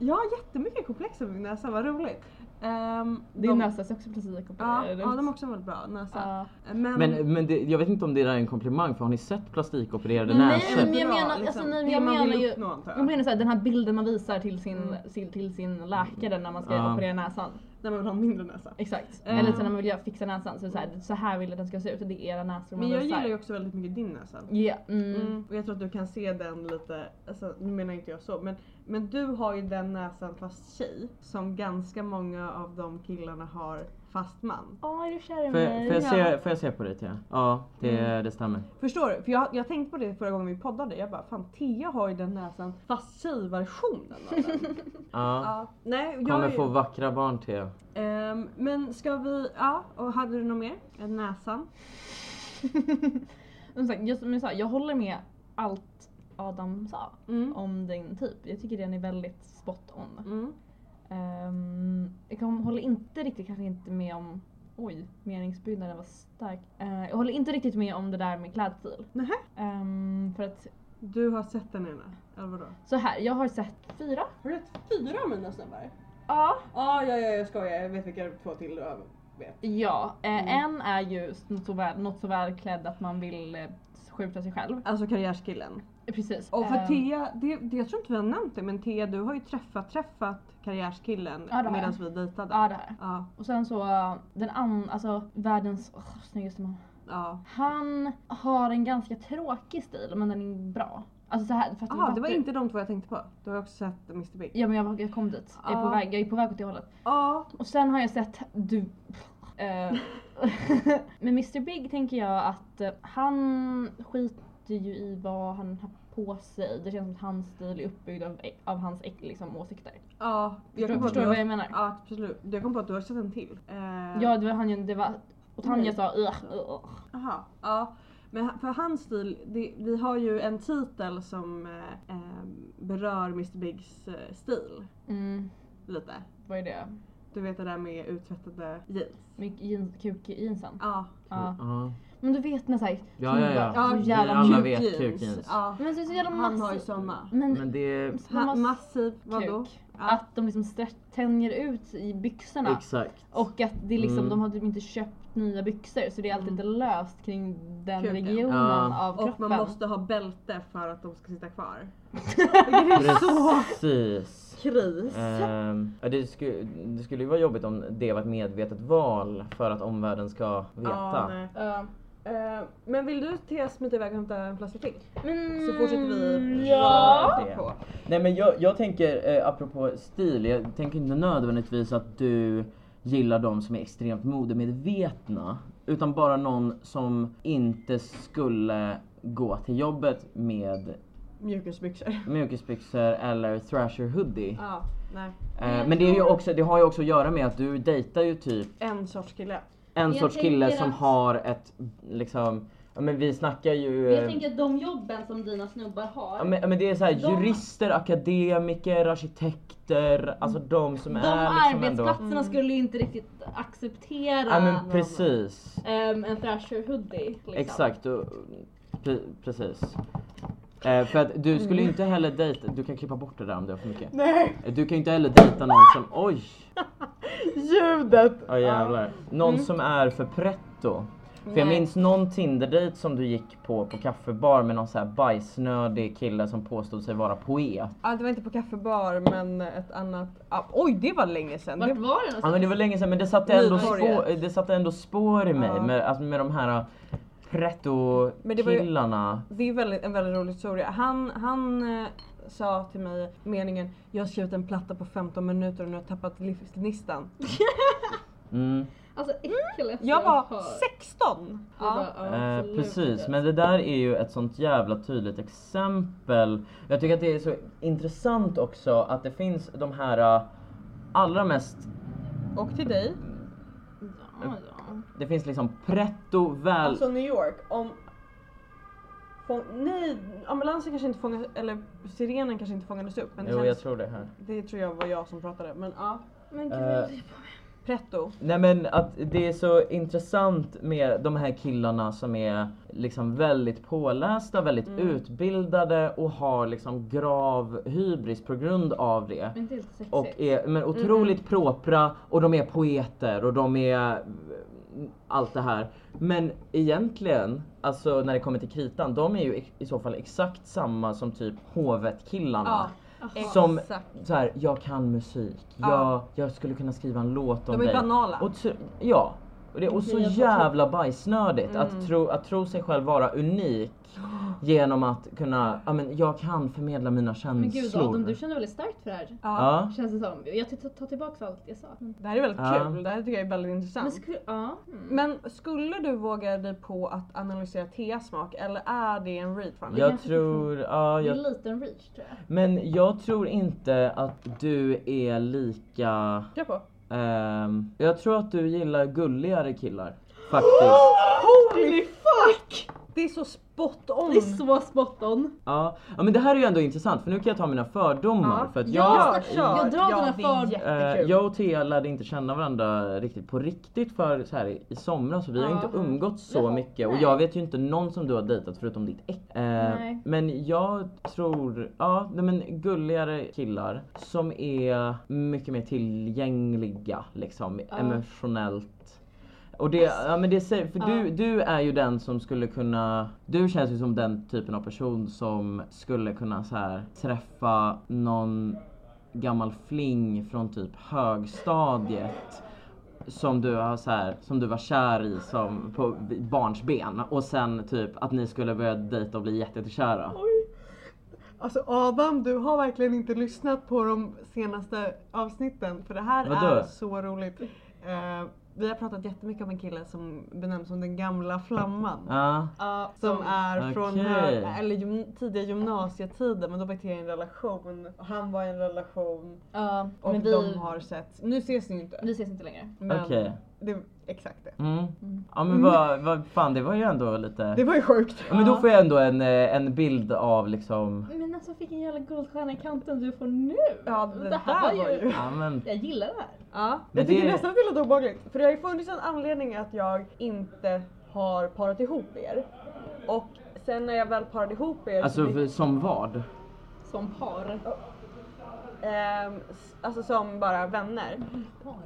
Jag har jättemycket komplex över min näsa, vad roligt. Ehm,
Din
de-
näsa ser också precis lika
Ja, ja, de är också väldigt bra, näsa.
Ja.
Eh, Men,
Men, men det, jag vet inte om det där är en komplimang för har ni sett plastikopererade
Nej,
näsor?
men jag menar- alltså, nej,
liksom.
men
det
jag
man vill
menar ju-
uppnå, antar jag.
Jag menar såhär, den här bilden man visar till sin,
Mm.
till, till sin läkare när man ska
Ja.
operera näsan.
När man vill ha en mindre näsa.
Exakt.
Mm.
Eller sen när man vill göra- fixa näsan så är det så här, så här vill jag att den ska se ut. Så det är era näsor man
Men jag
visar.
gillar ju också väldigt mycket din näsa.
Ja, mm.
Mm. Och jag tror att du kan se den lite, alltså, nu menar inte jag så, men, men du har ju den näsan fast tjej som ganska många av de killarna har fast man.
Åh, är du kär i
Får
mig?
jag, får, jag
Ja.
se, får jag se på det Tia? Ja, det, det stämmer.
Förstår du? För jag, jag tänkte på det förra gången vi poddade, jag bara fan Thea har ju den näsan fast tjejversionen av den.
Ja.
ja. Nej, jag
Kommer
är ju-
få vackra barn Tia.
Ehm, men ska vi, ja, och hade du något mer? Än Näsan?
Som sagt, just som jag sa, jag håller med allt Adam sa
Mm.
om din typ. Jag tycker den är väldigt spot on.
Mm.
Ehm, jag kan, håller inte riktigt kanske inte med om Oj, meningsbyggnaden var stark. Eh, jag håller inte riktigt med om det där med klädstil.
Nähä?
Ehm, för att
Du har sett den ena, eller vadå?
så här, jag har sett fyra.
Har du sett fyra av mina snubbar?
Ja.
Ah, ja, ja, jag skojar. Jag vet vilka två till du har- vet.
Ja, eh,
Mm.
en är ju något så, väl, något så välklädd att man vill eh, skjuta sig själv.
Alltså karriärskillen.
Eh, Precis.
Och för
Ehm,
Thea, det, det, jag tror inte vi har nämnt det men Thea du har ju träffat, träffat karriärskillen
Ja, det har jag.
medan vi dejtade.
Ja, det här.
Ja,
Och sen så, eh, den andra, alltså världens oh, snyggaste man.
ja.
Han har en ganska tråkig stil men den är bra. Alltså så här, för att
Ah, det var inte de två jag tänkte på. Du har också sett Mr Big.
Ja men jag, var- jag kom dit. Jag, är på
Ja.
väg, jag är på väg åt det hållet.
Ja,
Och sen har jag sett du... Eh, men Mr Big tänker jag att eh, han skiter ju i vad han har på sig. Det känns som att hans stil är uppbyggd av, av hans liksom, åsikter.
ja. Jag
Förstår,
kom på att
förstår
du
du
har,
vad jag menar?
ja, absolut. Jag kom på att du har sett en till. Eh,
Ja det var han ju- det var... Och Tanja
Nej.
sa "Ugh, ugh."
Aha, ja. Men ha- för hans stil, det, vi har ju en titel som eh, eh, berör Mr Bigs eh, stil
Mm,
lite.
vad är det?
Du vet det där med uttvättade jeans.
Mycket jeans, kuk i jeansen?
Ja,
Ja.
Ja.
Men du vet när såhär
Ja, ja, ja.
Ja,
så jävla
alla
mjuk.
vet
Kuk
kuk
jeans.
jeans.
Ja.
Men så är det så jävla
Han har ju
massiv-
sådana.
Men,
Men det...
så
Ma-
mass-
massiv, vadå?
kuk.
Ja.
Att de liksom stretch, tänjer ut i byxorna.
Exakt.
Och att det är liksom,
Mm.
de har typ inte köpt nya byxor så det är alltid
Mm.
lite löst kring den
Kuken.
regionen
Ja.
av
Och
kroppen.
man måste ha bälte för att de ska sitta kvar. Vilket är så
Precis.
kris.
Ehm, ja, det, skulle, det skulle ju vara jobbigt om det var ett medvetet val för att omvärlden ska
Ja,
veta.
nej.
Ja.
Eh, men vill du Thea smita iväg och hämta en flaska till?
Men...
Så fortsätter vi.
Mm, Ja.
Ja.
På.
Nej men jag, jag tänker, eh, apropå stil, jag tänker inte nödvändigtvis att du gillar de som är extremt modemedvetna. Utan bara någon som inte skulle gå till jobbet med
Mjukisbyxor.
mjukisbyxor eller thrasher hoodie.
Ja, nej.
Eh, men det, är ju också, det har ju också att göra med att du dejtar ju typ
En sorts kille.
en
Jag
sorts kille
tänker
som
att-
har ett liksom, ja men vi snackar ju... eh,
att de jobben som dina snubbar har,
Ja, men, ja, men det är så här,
De-
jurister, akademiker, arkitekter, alltså de som
de
är liksom ändå...
arbetsplatserna skulle ju inte riktigt acceptera
Ja men precis.
ehm, en thrasher hoodie. Liksom.
Exakt, och, pre, precis. Eh, för att du skulle ju inte heller dejta, du kan klippa bort det där om det är för mycket.
Nej!
Eh, Du kan ju inte heller dejta någon som, oj!
Ljudet!
Ja jävlar. Någon som är för pretto. För jag
Nej.
minns någon Tinder-dejt som du gick på på kaffebar med någon så här bajsnödig kille som påstod sig vara poet.
Ja, det var inte på kaffebar men ett annat... Ah, oj, det var länge sedan.
Vart
Det...
var den
Ja men det var länge sedan men det satte ändå,
Nytorget.
spår, det satte ändå spår i mig
Ja.
med, alltså med de här
Men det var ju-
pretto-killarna.
Det är väldigt, en väldigt rolig historia. Han, han eh, sa till mig meningen Jag har skrivit en platta på 15 minuter och nu har jag tappat livsgnistan.
Mm.
Alltså äckligaste
Jag var
hört.
16!
Jag
Ja.
bara, ja,
Eh,
absolut
precis,
inte.
men det där är ju ett sånt jävla tydligt exempel. Jag tycker att det är så intressant också att det finns de här eh, allra mest,
Och till dig.
Ja, ja.
det finns liksom pretto väl...
Alltså New York, om... Få... Nej, ambulansen kanske inte fångades, eller sirenen kanske inte fångades upp. Men det,
jo
känns...
jag tror det här.
det tror jag var jag som pratade. Men ja.
Men
Eh,
gud.
Pretto.
Nej men att det är så intressant med de här killarna som är liksom väldigt pålästa, väldigt
Mm.
utbildade och har liksom grav hybris på grund av det.
Inte helt sexigt.
Och är men otroligt propra och de är poeter och de är eh, allt det här. Men egentligen, alltså när det kommer till kritan, de är ju i- i så fall exakt samma som typ
Ja,
hovetkillarna.
Jaha.
Som-
exakt.
Så här, jag kan musik,
Ja.
jag, jag skulle kunna skriva en låt om
De är
dig.
banala.
Och ty- ja. Och, det, och så
Okej, jag får
jävla bajsnödigt
Mm.
att, tro, att tro sig själv vara unik genom att kunna, ja men jag kan förmedla mina känslor.
Men gud Adam, du känner väldigt starkt för det här.
Ja.
Ja.
Känns det som. Jag tar- tar tillbaka allt jag sa.
Det här är väldigt
Ja.
kul, det här tycker jag är väldigt intressant.
Men skulle, ja. Mm.
Men skulle du våga dig på att analysera T-smak eller är det en read för mig?
Jag
kanske
tror, ja,
Det är
jag,
en liten reach tror jag.
men jag tror inte att du är lika,
Kör på!
ehm, jag tror att du gillar gulligare killar. Faktiskt.
Holy fuck! Det är så spot on!
Det är så spot on.
Ja. ja men det här är ju ändå intressant för nu kan jag ta mina fördomar.
Ja.
För att jag,
Ja,
Ja,
jag,
kör.
jag drar
Ja,
dina
det är
för...
jätte-
Eh,
Jättekul.
jag och Thea lärde inte känna varandra riktigt på riktigt för så här, i somras och vi har
Ja.
ju inte umgått så
Jaha,
mycket och
nej.
jag vet ju inte någon som du har dejtat förutom ditt ex. Eh,
Nej.
men jag tror, ja nej, men gulligare killar som är mycket mer tillgängliga liksom
Ja. Alltså,
emotionellt. Och det, ja, men det säger, för
Ja.
du, du är ju den som skulle kunna, du känns ju som den typen av person som skulle kunna så här, träffa någon gammal fling från typ högstadiet som du, har så här, som du var kär i som på barnsben och sen typ att ni skulle börja dejta och bli jätte- jättekära.
Oj. Alltså Adam, du har verkligen inte lyssnat på de senaste avsnitten för det här
Vadå?
är så roligt. Eh, vi har pratat jättemycket om en kille som benämns som den gamla flamman.
Ja,
Ja,
Som är från
Okej.
hö- eller gym- tidiga gymnasietiden men då var jag i en relation och han var i en relation
ja,
och
men
de
vi,
har sett. Nu ses ni ju inte.
vi ses inte längre.
Men
okej.
det är exakt det.
Mm.
Mm.
Ja men vad, vad fan det var ju ändå
Det
lite...
var ju sjukt.
Ja, men då får jag ändå en, eh, en bild av liksom...
Men alltså vilken jävla guldstjärna i kanten du får nu!
Ja det, där var ju...
Ja men...
Jag gillar det här.
Ja,
Men
jag tycker
det-
nästan att det låter obehagligt. För det har ju funnits en anledning att jag inte har parat ihop er. Och sen när jag väl parade ihop er
Alltså
så blev-
för- som vad?
Som par.
ehm, s- alltså som bara vänner.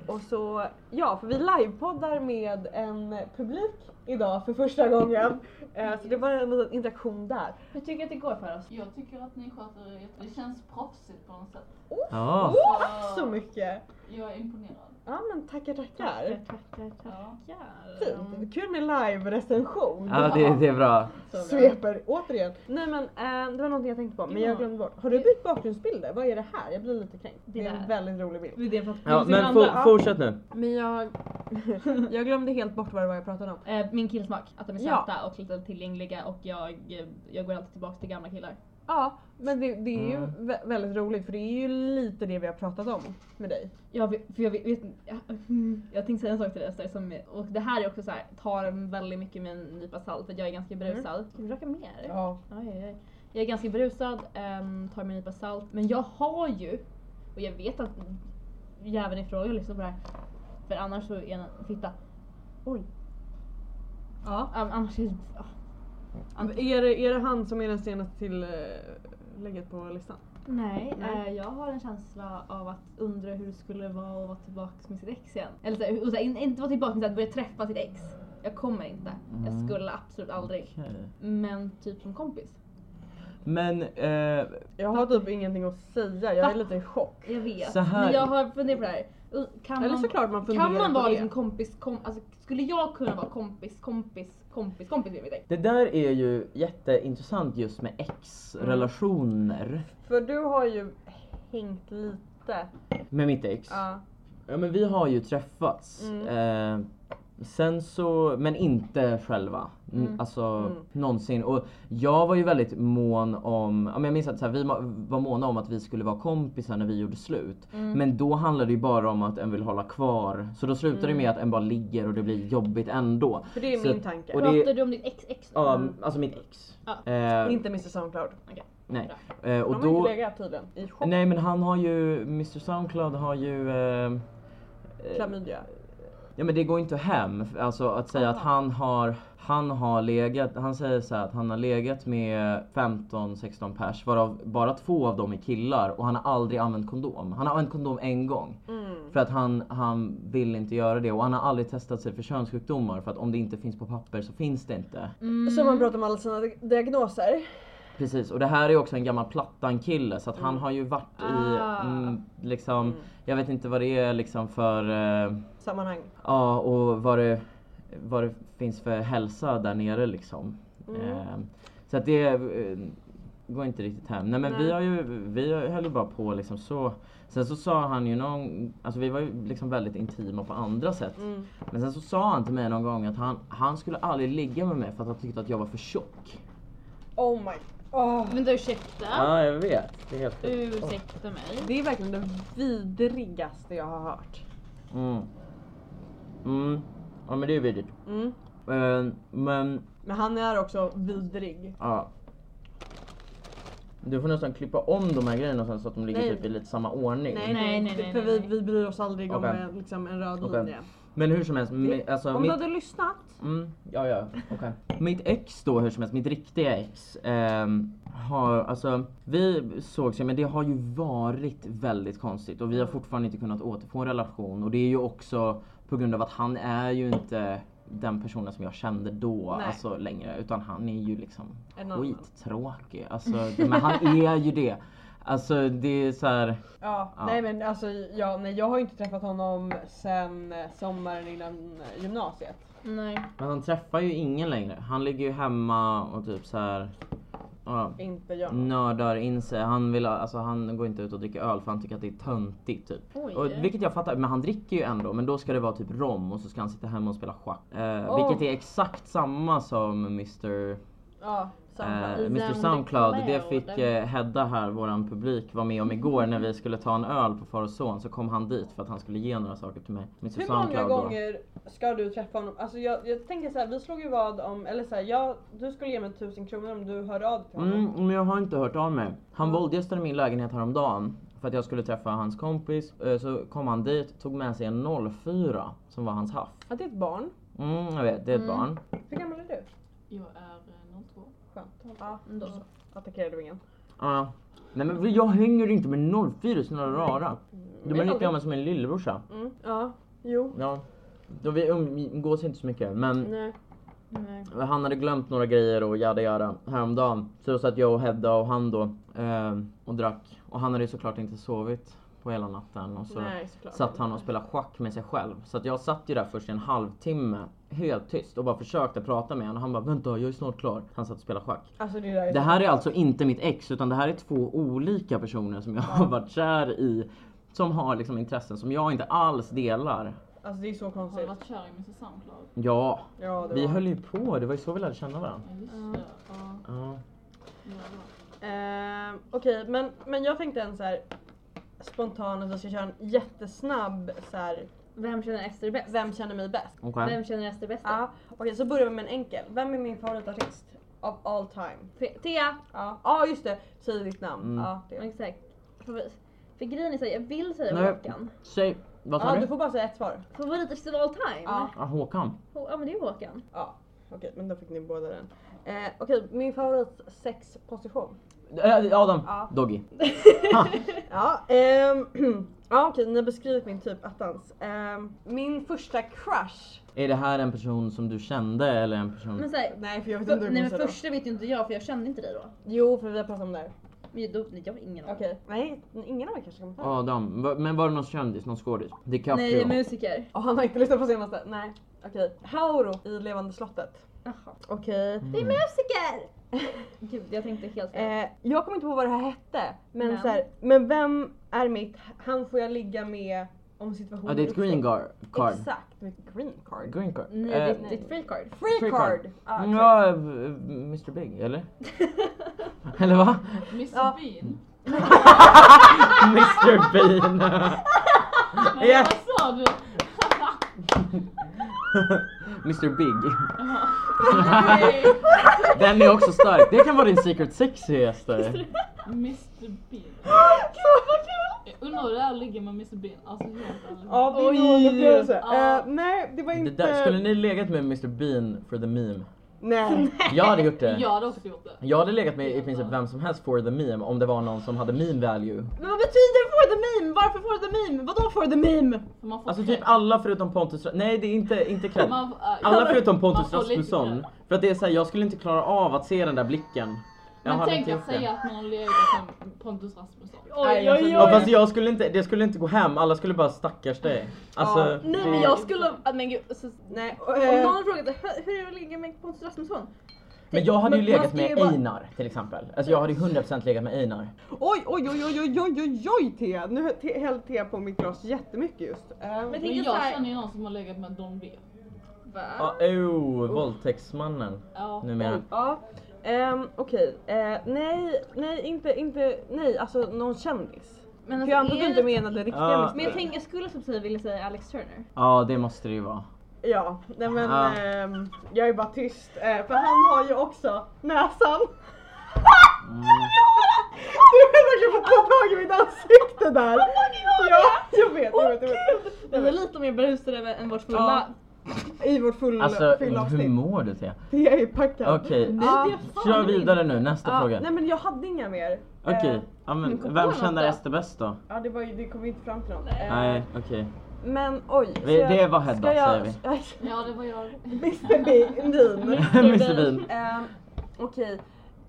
Och så, ja för vi livepoddar med en publik idag för första gången. Eh, så det var en liten interaktion där.
Hur tycker du att det går för oss?
Jag tycker att ni sköter det jätte- Det känns proffsigt på något sätt.
Ja.
Åh, tack så mycket!
Jag är imponerad.
Ja men tackar tackar. Mm.
Tackar, tackar, tackar.
Fint, kul med live-recension.
Ja det, det är bra.
Så bra.
Sveper återigen. Nej men eh, det var någonting jag tänkte på men
Ja.
jag glömde bort. Har du bytt bakgrundsbilder? Vad är det här? Jag blir lite kränkt. Det
Det
är en
där.
väldigt rolig bild.
Det är det för att
Ja
vi ser
men
varandra.
for, fortsätt nu.
Men jag, jag glömde helt bort vad det var jag pratade om.
Eh, Min killsmak, att de är
Ja.
söta och lite tillgängliga och jag, eh, jag går alltid tillbaka till gamla killar.
Ja men det, det är ju
Mm.
vä- väldigt roligt för det är ju lite det vi har pratat om med dig.
Jag, vet, för jag, vet, vet, jag, mm, jag tänkte säga en sak till dig Ester, som, och det här är också så här, tar väldigt mycket med en nypa salt för jag är ganska berusad. Mm. Ska vi röka mer?
Ja.
Aj, aj, aj. Jag är ganska berusad, ehm, tar mig en nypa salt. Men jag har ju, och jag vet att jäveln i fråga lyssnar på det här. För annars så är den, titta. Oj.
ja.
An- Annars är ah.
Men Är, det, är det han som är den senaste till eh, lägget på listan?
Nej,
Nej.
eh, jag har en känsla av att undra hur det skulle vara att vara tillbaka med sitt ex igen. Eller så, här, och så här, in, inte vara tillbaka men så här, börja träffa sitt ex. Jag kommer inte. Jag
Mm.
skulle absolut aldrig.
Okej.
Men typ som kompis.
Men eh,
Jag har typ ingenting att säga, jag är
Va?
lite i chock.
Jag vet.
Så här-
Men jag har funderat på det här. Uh, Kan
Eller
man,
såklart man funderar
kan man
på
vara
det.
liksom kompis, kom, alltså, skulle jag kunna vara kompis, kompis, kompis, kompis med mitt ex?
det där är ju jätteintressant just med ex-relationer.
För du har ju hängt lite.
Med mitt ex.
Ja.
Ja men vi har ju träffats.
Mm.
Eh, sen så, men inte själva. N-
Mm.
Alltså
Mm.
någonsin. Och jag var ju väldigt mån om, ja, men jag minns att så här, vi ma- var måna om att vi skulle vara kompisar när vi gjorde slut.
Mm.
Men då handlade det ju bara om att en vill hålla kvar. Så då slutar
Mm.
det med att en bara ligger och det blir jobbigt ändå.
För det är
Så-
min tanke.
och det-
Pratar du om ditt ex ex nu?
Ja, alltså mitt ex.
Ja.
Eh,
Mm. Inte Mr Soundcloud.
nej. Eh,
De
och
har
då,
inte legat tydligen i chock.
nej men han har ju, Mr Soundcloud har ju eh, eh,
Klamydia.
Ja men det går inte hem. Alltså att säga att han har, han har legat, han säger så här att han har legat med 15-16 pers varav bara två av dem är killar och han har aldrig använt kondom. Han har använt kondom en gång.
Mm.
För att han, han vill inte göra det och han har aldrig testat sig för könssjukdomar för att om det inte finns på papper så finns det inte.
Som man pratar om alla sina di- diagnoser.
Precis, och det här är också en gammal Plattan-kille så att han har ju varit i,
Ah.
mm, liksom, jag vet inte vad det är liksom för, eh,
Sammanhang.
ja och vad det, vad det finns för hälsa där nere liksom. Eh, så att det eh, går inte riktigt hem. Nej men vi har ju, vi höll ju bara på liksom så. Sen så sa han ju någon, alltså vi var ju liksom väldigt intima på andra sätt. Men sen så sa han till mig någon gång att han, han skulle aldrig ligga med mig för att han tyckte att jag var för tjock.
Oh my... Oh.
Men du ursäkta?
Ja, jag vet. Det är helt sjukt.
Ursäkta mig.
Det är verkligen det vidrigaste jag har hört.
Mm. Mm. Ja men det är vidrigt.
Mm.
Eh, men,
Men han är också vidrig.
ja. Du får nästan klippa om de här grejerna sen så att de ligger
Nej.
typ i lite samma ordning.
Nej,
nej,
nej,
nej, nej,
För
nej.
Vi, vi bryr oss aldrig om
Okej.
en, liksom, en röd
Okej.
linje.
Men hur som helst, mi, alltså
Om du
mitt...
hade lyssnat.
Mm, ja, ja, okej. Mitt ex då hur som helst, mitt riktiga ex. ehm, har, alltså, vi sågs ju men det har ju varit väldigt konstigt och vi har fortfarande inte kunnat återfå en relation och det är ju också på grund av att han är ju inte den personen som jag kände då,
Nej.
alltså längre. Utan han är ju liksom
En annan.
skittråkig. Alltså, men han är ju det. Alltså det är så här.
Ja,
Ja.
nej men alltså ja, nej, jag har ju inte träffat honom sen eh, sommaren innan eh, gymnasiet.
Nej.
Men han träffar ju ingen längre. Han ligger ju hemma och typ så här. Ja,
Inte jag.
Mm. nördar in sig. Han, vill, alltså, han går inte ut och dricker öl för han tycker att det är töntigt typ.
Oj.
Och, vilket jag fattar, men han dricker ju ändå men då ska det vara typ rom och så ska han sitta hemma och spela schack. Eh, Vilket är exakt samma som Mr
Ja, samma.
Eh,
I
Mr
den
Soundcloud, det
clouden.
fick eh, Hedda här, våran publik, var med om igår när vi skulle ta en öl på far och son så kom han dit för att han skulle ge några saker till mig. Mr
Hur många
Soundcloud
gånger ska du träffa honom? Alltså jag, jag tänker så här, vi slog ju vad om, eller så här, jag, du skulle ge mig 1000 kronor om du hörde av dig till
då.
honom.
Mm, men jag har inte hört av mig. Han våldgästade min lägenhet häromdagen för att jag skulle träffa hans kompis. Eh, Så kom han dit, tog med sig en 04 som var hans haff.
Ja, det är ett barn.
Mm, jag vet, det är ett
Mm.
barn.
Hur gammal är du?
Jag är eh, 02.
Skönt. Ja,
Då så.
attackerade du ingen.
Ja. nej men jag hänger inte med 04 snälla rara. Du är lika gammal som min lillebrorsa.
Mm. Ja, jo.
Ja. Då vi umgås inte så mycket men
Nej.
Nej.
Han hade glömt några grejer och jada jada häromdagen. Så då satt jag och Hedda och han då eh, och drack. Och han hade ju såklart inte sovit på hela natten. Och så
Nej, såklart.
satt han och spelade schack med sig själv. Så att jag satt ju där först i en halvtimme helt tyst och bara försökte prata med honom. Och han bara vänta jag är snart klar. Han satt och spelade schack.
Alltså det där är
Det här är alltså inte mitt ex utan det här är två olika personer som jag har varit kär i. Som har liksom intressen som jag inte alls delar.
Alltså det är så
Har du
konstigt.
varit kär i Mr Soundcloud?
Ja,
Ja, det
vi
var.
höll ju på. Det var ju så vi lärde känna varandra.
Ja just det. Ja,
Ja.
jävlar.
Ehm, Okej, men, men jag tänkte en så här spontan att vi ska köra en jättesnabb så här,
Vem känner Ester bäst?
vem känner mig bäst?
Okej.
Vem känner Ester bäst?
Ja, okej så börjar vi med en enkel. Vem är min favoritartist of all time?
Fe- Thea!
Ja, ah, just det, säg ditt namn.
Mm.
Ja, det.
Exakt. För, för grejen är såhär, jag vill säga
Nej.
Håkan.
Säg, vad sa
Ja,
du?
du får bara säga ett svar.
Favorit of all time?
Ja.
Ja, Håkan.
Hå- ja men det är Håkan.
Ja, okej men då fick ni båda den. Eh, okej, min favorit sexposition.
Äh, Adam.
Ja.
Doggy.
Ja, ehm, ja okej ni har beskrivit min typ attans. Ehm, min första crush.
Är det här en person som du kände eller en person...
Men såhär,
Nej för jag vet
för,
inte hur
nej men
jag
första vet ju inte jag för jag kände inte dig då.
Jo för vi har pratat om det här.
Men då, jag har ingen aning.
Okej. Nej, ingen av er kanske kommer ta den.
Adam. Va- Men var det någon kändis? Någon skådis? DiCaprio?
Nej, musiker.
Ja, han har inte lyssnat på senaste. Nej, okej. Hauro i Levande slottet.
Jaha.
Okej.
Mm.
Musiker! Gud, jag tänkte helt fel.
Eh, jag kommer inte på vad det här hette, men,
Men.
men. Så här, men vem är mitt, han får jag ligga med om situationen
Ja, det är ett green gar- card.
Exakt, mitt green card.
Green card.
Nej,
Eh,
det, det är ett free card.
Free,
Free card. Mm.
card! Ja, exakt.
ja, v- Mr Big, eller? eller va?
Mr
Ja.
Bean?
Mr Bean!
Nej
Ja.
vad sa du?
Mr Big.
Nej,
Den är också stark. Det kan vara din secret sexy Ester.
Mr Bean.
Så vad kul!
Jag undrar hur det är att ligga med Mr Bean. Alltså helt ärligt.
Ja, det är
Oj.
nog en upplevelse.
Ja.
Eh, nej, det var
Det
inte...
där, skulle ni legat med Mr Bean for the meme?
Nej.
Jag hade gjort det.
Jag hade också gjort det.
Jag hade legat med i princip vem som helst for the meme om det var någon som hade meme value.
Men vad betyder for the meme? Varför for the meme? Vadå for the meme?
För Man får
Alltså
cred.
typ alla förutom Pontus Nej det är inte, inte cred.
Man- ja,
Alla förutom
man
Pontus
får lite
Rasmusson.
cred.
För att det är såhär, jag skulle inte klara av att se den där blicken. Jag
Men
hade
tänk
inte
att
gjort det.
säga att man har legat med Pontus Rasmusson.
Oj, oj, oj.
Ja fast jag skulle inte, det skulle inte gå hem, alla skulle bara stackars dig. Alltså,
Ja,
Nej
det-
men jag skulle, ah, men gud. Alltså,
Nej,
om
eh,
någon hade frågat "Hur- hur är det att ligga med Pontus Rasmusson?
men jag hade ju
man- man
legat
ska ju
med
bara-
Einar till exempel. Alltså jag hade ju 100% legat med Einar.
oj, oj, oj, oj, oj, oj, oj, oj, Thea. Nu hö- te- hällde Thea på mitt glas jättemycket just. Eh,
Men-
Men
tänker
jag
så här-
känner ju någon som har legat med Don B.
Va?
Ah.
Ja, oh, våldtäktsmannen.
Ja.
Numera.
Ja. Um, Okej, eh, nej, nej, inte, inte, nej, alltså någon kändis.
Men
För
alltså,
jag antar att du
är
inte
det-
menade riktiga
Ja.
Mr.
Men
Bean.
jag, tänk, jag skulle som säga vilja säga Alex Turner.
Ja det måste det ju vara.
Ja, nej men
Ja.
ehm, jag är bara tyst eh, för han har ju också näsan.
Mm.
Du har verkligen fått ta tag i mitt ansikte där. Ja, jag vet, jag vet, jag vet.
Vi var lite mer berusade än- än vårt fulla.
I vårt full,
Alltså
fulla
hur
avsnitt.
mår du Thea?
Jag är packad.
Okej,
Ja.
kör vidare nu, nästa
Ja,
fråga.
nej men jag hade inga mer.
Okej,
Eh,
ja,
men kom
men
på
vem
något
känner
då.
Ester bäst då?
ja det, var ju, det kom ju inte fram till någon. Eh,
Nej, okej.
Men oj.
Vi-
så jag-
det var Hedda,
ska jag-
säger
Ja det var jag.
Mr Bean.
Mr Bean.
Ehm, Okej.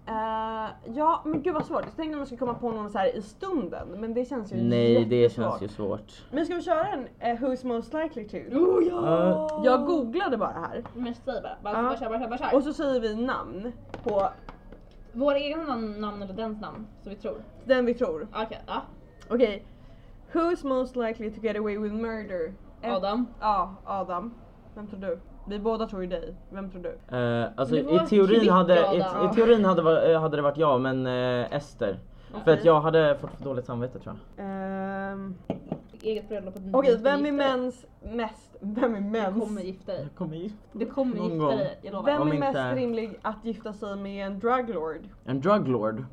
Eh, ja men gud vad svårt. Jag tänkte om jag skulle komma på någon så här i stunden men det känns ju
Nej det
jättesvårt.
känns ju svårt.
Men ska vi köra en eh, Who's most likely to?
Oh,
Ja.
Jag googlade bara här
Men säg bara,
Ja.
bara, bara kör, bara kör, bara kör.
och så säger vi namn på
Våra egna namn, namn eller dens namn, så vi tror. Ah,
den vi tror.
Okej, ja.
Okej. Who's most likely to get away with murder? Eh,
Adam.
Ja, Adam. Vem tror du? Vi båda tror ju dig. Vem tror du?
Eh, alltså
Men det var
i teorin,
klick,
hade, i,
Adam.
i teorin hade, va- eh, hade det varit jag men eh, Ester. För att jag hade fått för dåligt samvete tror jag.
Ehm,
Eget bröllop. och
Okej,
du
vem
gifter
är
dig.
mäns mest? Vem är
Du kommer
mäns?
gifta dig.
Jag kommer gifta
Du kommer
Någon
gifta
gång.
dig, jag lovar.
Vem
Om
är
inte-
mest rimlig att gifta sig med en druglord?
En druglord?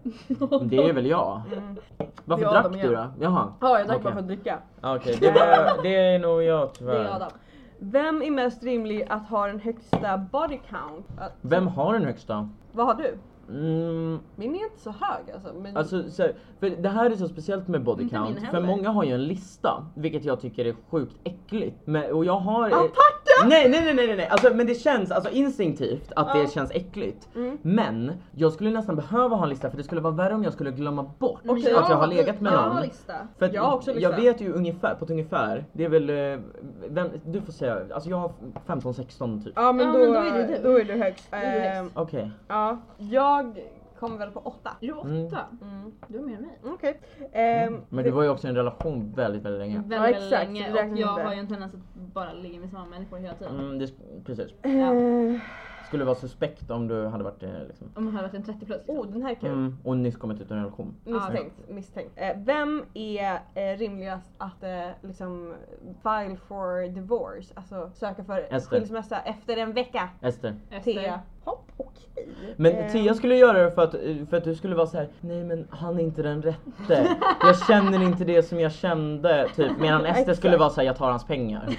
Det är väl jag?
Mm.
Varför
Det är Adam
drack du
igen.
då? Jaha.
Ja, jag drack
Okej.
bara för att dricka.
Ja, Okej, det, var- det är nog jag
Det är
tyvärr.
Adam.
Vem är mest rimlig att ha den högsta body count? Att-
Vem har den högsta?
Vad har du?
Mm,
Min är inte så hög alltså. Men...
Alltså, så här, för det här är så speciellt med body
Inte min
count, för
heller.
många har ju en lista, vilket jag tycker är sjukt äckligt. Men, och jag har...
Ah,
eh,
Attacken!
Nej, nej, nej, nej, nej, nej. Alltså, men det känns alltså, instinktivt att
Ja.
det känns äckligt.
Ah. Mm.
Men jag skulle nästan behöva ha en lista för det skulle vara värre om jag skulle glömma bort
Okej.
att jag har legat med
jag
någon.
har lista.
För att
liksom. Jag har också
jag
lista.
vet ju ungefär, på ett ungefär, det är väl, eh, vem, du får säga, alltså jag har 15-16 typ.
Ja men,
Ja,
då,
men då är det du.
då är du högst.
är du högst.
Ehm,
Okej.
ja. Jag kom väl på åtta.
Är du åtta?
Mm.
Mm.
Du är mer än mig.
Okej. Ehm,
Men du var ju också i en relation väldigt, väldigt länge.
Väldigt,
Ja,
väldigt
exakt,
länge
det
och
räknas
jag
inte.
har ju en tendens att bara ligga med samma människor hela tiden.
Mm, det, precis.
eh,
Skulle vara suspekt om du hade varit eh, liksom.
Om man hade varit en 30 plus liksom.
oh den här är kul.
Mm. Och nyss kommit ut ur en relation.
Misstänkt. misstänkt. Eh, vem är eh, rimligast att eh, liksom file for divorce? Alltså söka för
Ester.
skilsmässa efter en vecka.
Ester.
Efter-
Thea. Hopp, okej.
Men
Ehm,
Tia skulle göra det för att, för att du skulle vara så här: nej men han är inte den rätte. Jag känner inte det som jag kände. Typ. Medan Ester
Exakt.
skulle vara såhär, jag tar hans pengar. Typ.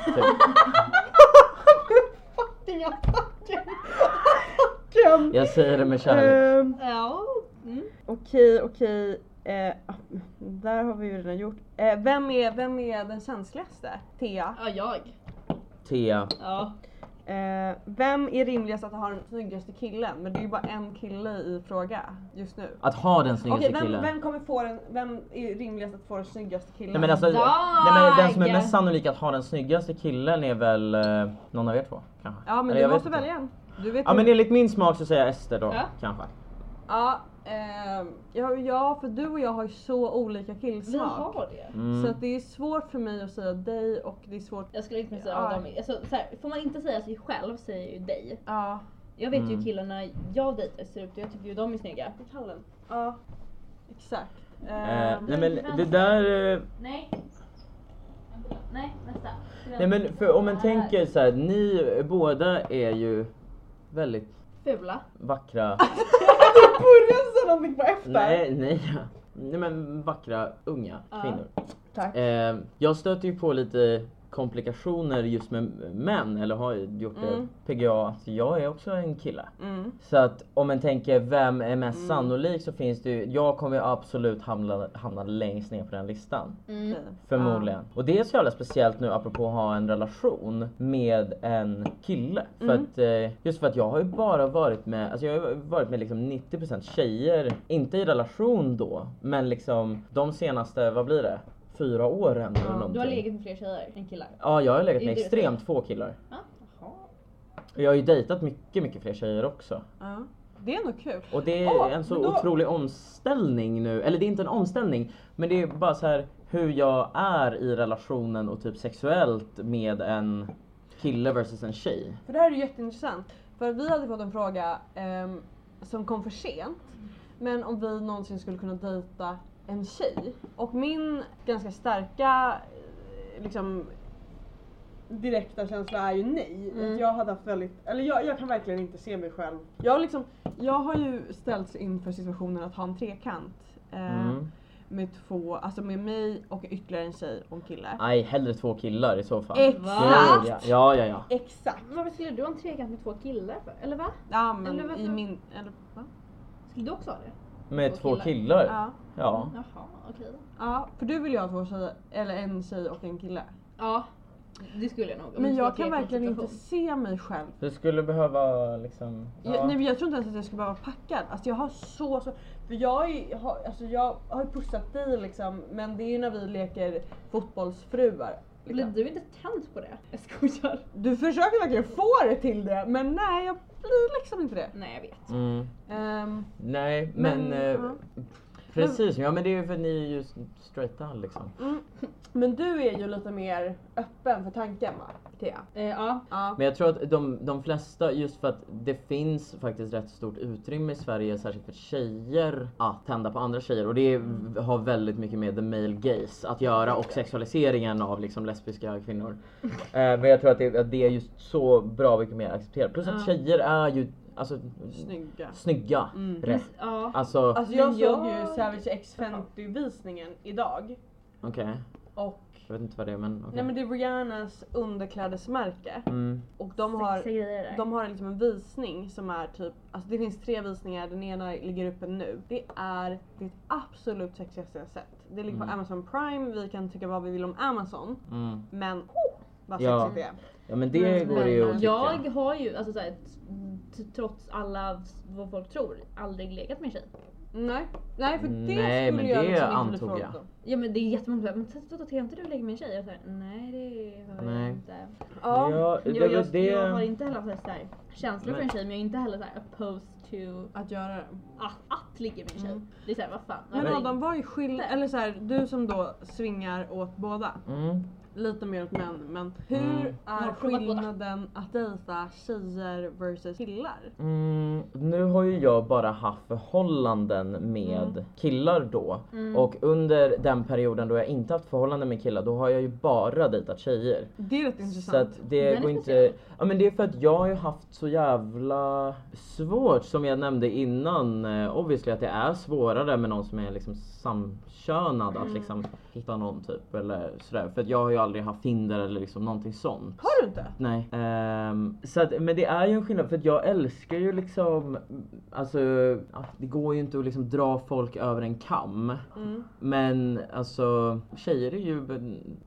Fucking attacken! Attacken!
Jag säger det med kärlek.
Ehm,
Ja. Mm.
Okej, okej. Eh, där har vi ju redan gjort. Eh, vem, är, vem är den känsligaste? Thea.
Ja, jag.
Tia.
Ja.
Eh, vem är rimligast att ha den snyggaste killen? Men det är ju bara en kille i fråga just nu.
Att ha den snyggaste
Okej, vem,
killen.
vem kommer få den, vem är rimligast att få den snyggaste killen?
Nej men alltså, nej, men den som är mest sannolik att ha den snyggaste killen är väl eh, någon av er två kanske?
ja men
Eller
du
jag vet
måste
inte.
välja en. Du vet
Ja
ju-
men enligt min smak så säger jag Ester då
Ja.
kanske.
ja, ehm, ja, ja för du och jag har ju så olika
Vi
killsmak.
har det.
Mm.
Så att det är svårt för mig att säga dig och det är svårt...
Jag skulle inte säga
Ja.
Adam. Alltså, så här, får man inte säga sig själv säger jag ju dig.
Ja.
Jag vet
Mm.
ju killarna jag dejtar ser ut och jag tycker ju de är snygga. På pallen.
Ja. Exakt.
Eh,
Ehm,
nej men det där eh,
Nej. Nej, nästa.
Nej men för om man tänker så här, ni båda är ju väldigt
Fula.
vackra,
Burren som de fick på efter!
nej nej, nej men vackra unga
Ja.
kvinnor.
Tack.
Eh, jag stöter ju på lite komplikationer just med män, eller har gjort det
Mm.
PGA, att alltså, jag är också en kille.
Mm.
Så att om man tänker vem är mest
Mm.
sannolik så finns det ju, jag kommer ju absolut hamna, hamna längst ner på den listan.
Mm.
okej.
Förmodligen. Och det är så jävla speciellt nu apropå att ha en relation med en kille. För
Mm.
att, eh, just för att jag har ju bara varit med, alltså jag har ju varit med liksom 90% tjejer, inte i relation då, men liksom de senaste, vad blir det? Fyra åren eller någonting.
Du har legat med fler tjejer än killar?
Ja, jag har legat
Det är
med
det du
extremt få killar.
Ja. Jaha.
Och jag har ju dejtat mycket, mycket fler tjejer också.
Ja. Ja. Det är nog kul.
Och det är
Åh,
en så
men då-
otrolig omställning nu, eller det är inte en omställning, men det är bara så här hur jag är i relationen och typ sexuellt med en kille versus en tjej.
För det här är ju jätteintressant. För vi hade fått en fråga ehm, som kom för sent. Men om vi någonsin skulle kunna dejta en tjej. Och min ganska starka eh, liksom, direkta känsla är ju nej.
Mm.
Att Jag hade haft väldigt, eller jag, jag kan verkligen inte se mig själv. Jag, har liksom, jag har ju ställts inför situationen att ha en trekant. eh,
Mm.
Med två, alltså med mig och ytterligare en tjej och en kille.
Nej, hellre två killar i så fall.
Exakt!
Ja, ja, ja. ja.
Exakt!
Varför skulle du ha en trekant med två killar för? Eller va?
Ja men
Eller varför-
i min... Eller, va?
Skulle du också ha det?
Med
Två
två
killar.
killar. Ja.
Ja.
Jaha, okej.
Ja, för du vill ju ha två tjejer, eller en tjej och en kille.
Ja, det skulle jag nog. om
Men
det
jag
skulle
kan
vara en
verkligen inte
situation.
se mig själv.
Du skulle behöva liksom...
Jag, nej, men jag tror inte ens att jag skulle behöva vara packad. Alltså jag har så, så... För jag, är, har, alltså jag har ju pussat dig liksom, men det är ju när vi leker fotbollsfruar.
Blir
Liksom.
du inte tänd på det? Jag skojar.
Du försöker verkligen få det till det, men nej jag blir liksom inte det.
Nej, jag vet.
Mm.
Ehm,
Nej, men...
Men,
eh,
ja.
Precis, ja men det är ju för ni är ju straighta liksom.
mm. Men du är ju lite mer öppen för tanken va? Thea?
Eh, ja.
Ja.
Men jag tror att de, de flesta, just för att det finns faktiskt rätt stort utrymme i Sverige, särskilt för tjejer, att tända på andra tjejer. Och det har väldigt mycket med the male gaze att göra och sexualiseringen av liksom lesbiska kvinnor. eh, men jag tror att det, att det är just så bra mycket mer accepterat. Plus att
Ja.
tjejer är ju alltså,
Snygga.
snygga.
Mm.
Rätt.
ja.
Alltså,
Alltså jag
Men jag-
såg ju Savage X50 visningen idag
okej.
och
Jag vet inte vad det är men okej.
Nej men det är Rihannas underklädesmärke
Mm.
och de har,
Sexiga grejer där.
de har liksom en visning som är typ, alltså det finns tre visningar, den ena ligger uppe nu. Det är det absolut sexigaste jag sett. Det ligger på
Mm.
Amazon Prime, vi kan tycka vad vi vill om Amazon
Mm.
men oh, vad sexigt
Ja.
det är.
Ja men
Mm.
det går det ju att tycka.
Jag har ju, alltså såhär, t- trots alla v- vad folk tror, aldrig legat med en tjej.
Nej, nej för det
Nej,
skulle
men
jag
det
liksom inte bli
antog jag.
förvånad om.
Ja men det är jättemånga som säger, men Tove, har inte du legat med en tjej? Jag säger, nej det har
Nej.
jag inte.
Ja.
det,
Jag, jag,
det,
jag har inte heller haft såhär, känslor för
Nej.
en tjej men jag är inte heller såhär opposed to
Att göra det.
att, att ligga med en tjej.
Mm.
Det är såhär, vad fan.
Men
Nej.
Adam, vad är skillnaden? Eller så här, du som då svingar åt båda.
mm.
lite mer åt män, men hur
Mm.
Jag
är
har provat båda.
skillnaden att dejta tjejer versus killar?
Mm, nu har ju jag bara haft förhållanden med
Mm.
killar då.
Mm.
Och under den perioden då jag inte haft förhållanden med killar, då har jag ju bara dejtat tjejer.
Det är rätt
Så
intressant.
att det
Den är
går inte...
speciell.
Ja men det är för att jag har ju haft så jävla svårt, som jag nämnde innan, eh, obviously att det är svårare med någon som är liksom samkönad
Mm.
att liksom hitta någon typ eller sådär. För att jag har ju aldrig haft Tinder eller liksom någonting sånt.
Har du inte?
Nej. Ehm, så att, men det är ju en skillnad för att jag älskar ju liksom, alltså ja, det går ju inte att liksom dra folk över en kam.
Mm.
Men alltså tjejer är ju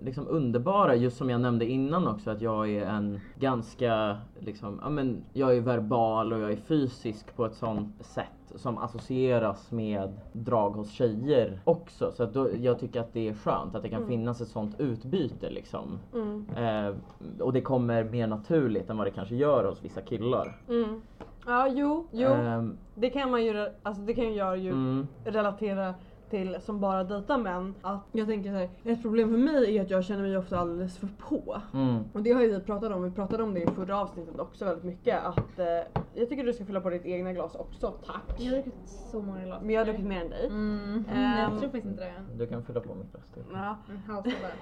liksom underbara just som jag nämnde innan också att jag är en ganska liksom, ja men jag är verbal och jag är fysisk på ett sånt sätt som associeras med drag hos tjejer också. Så att då, jag tycker att det är skönt att det kan
Mm.
finnas ett sånt utbyte liksom.
Mm.
Eh, och det kommer mer naturligt än vad det kanske gör hos vissa killar.
Mm. Ja, jo, jo.
Ehm,
Det kan man ju, re- alltså det kan jag ju
mm,
relatera till som bara dejtar män. Att jag tänker så här, ett problem för mig är att jag känner mig ofta alldeles för på.
mm,
Och det har ju vi pratat om, vi pratade om det i förra avsnittet också väldigt mycket att eh, jag tycker du ska fylla på ditt egna glas också, tack.
Jag har druckit så många glas.
Men jag har druckit mer än dig.
Mm.
Ehm.
Nej, Jag tror faktiskt inte det.
du kan fylla på mitt bröst.
Ja.
En hals bara.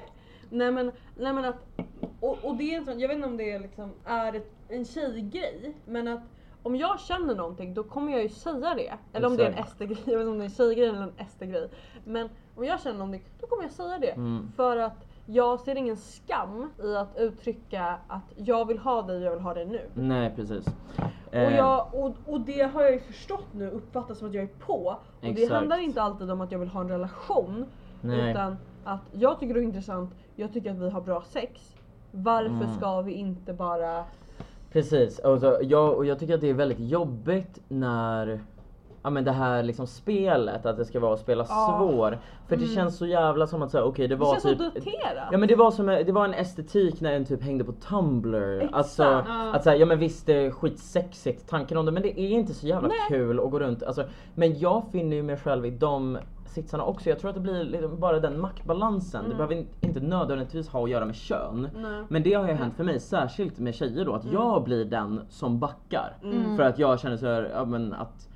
Nej men, nej men att, och, och det är en sån, jag vet inte om det är liksom, är ett, en tjejgrej, men att om jag känner någonting då kommer jag ju säga det. Eller om det är en
Exakt.
SD-grej, jag vet inte om det är en tjejgrej eller en SD-grej. Men om jag känner någonting då kommer jag säga det.
Mm.
För att jag ser ingen skam i att uttrycka att jag vill ha dig, jag vill ha dig nu.
Nej precis.
Och,
Eh,
jag, och, och det har jag ju förstått nu uppfattas som att jag är på. Och
Exakt.
det handlar inte alltid om att jag vill ha en relation.
nej.
Utan att jag tycker det är intressant, jag tycker att vi har bra sex. Varför
Mm.
ska vi inte bara...
Precis, alltså, jag, och jag tycker att det är väldigt jobbigt när Ja men det här liksom spelet, att det ska vara att spela
Ja.
svår. För det
Mm.
känns så jävla som att säga okej det
Det
var
känns så
typ...
daterat.
Ja men det var som en- det var en estetik när en typ hängde på Tumblr.
Exakt.
Alltså
Ja.
att säga ja men visst det är skitsexigt tanken om det men det är inte så jävla kul att gå runt. Alltså, men jag finner ju mig själv i de sitsarna också. Jag tror att det blir liksom bara den maktbalansen. Det
Mm.
behöver in- inte nödvändigtvis ha att göra med kön.
Nej.
Men det har ju hänt för mig, särskilt med tjejer då, att
Mm.
jag blir den som backar.
Mm.
För att jag känner så här, ja, men att,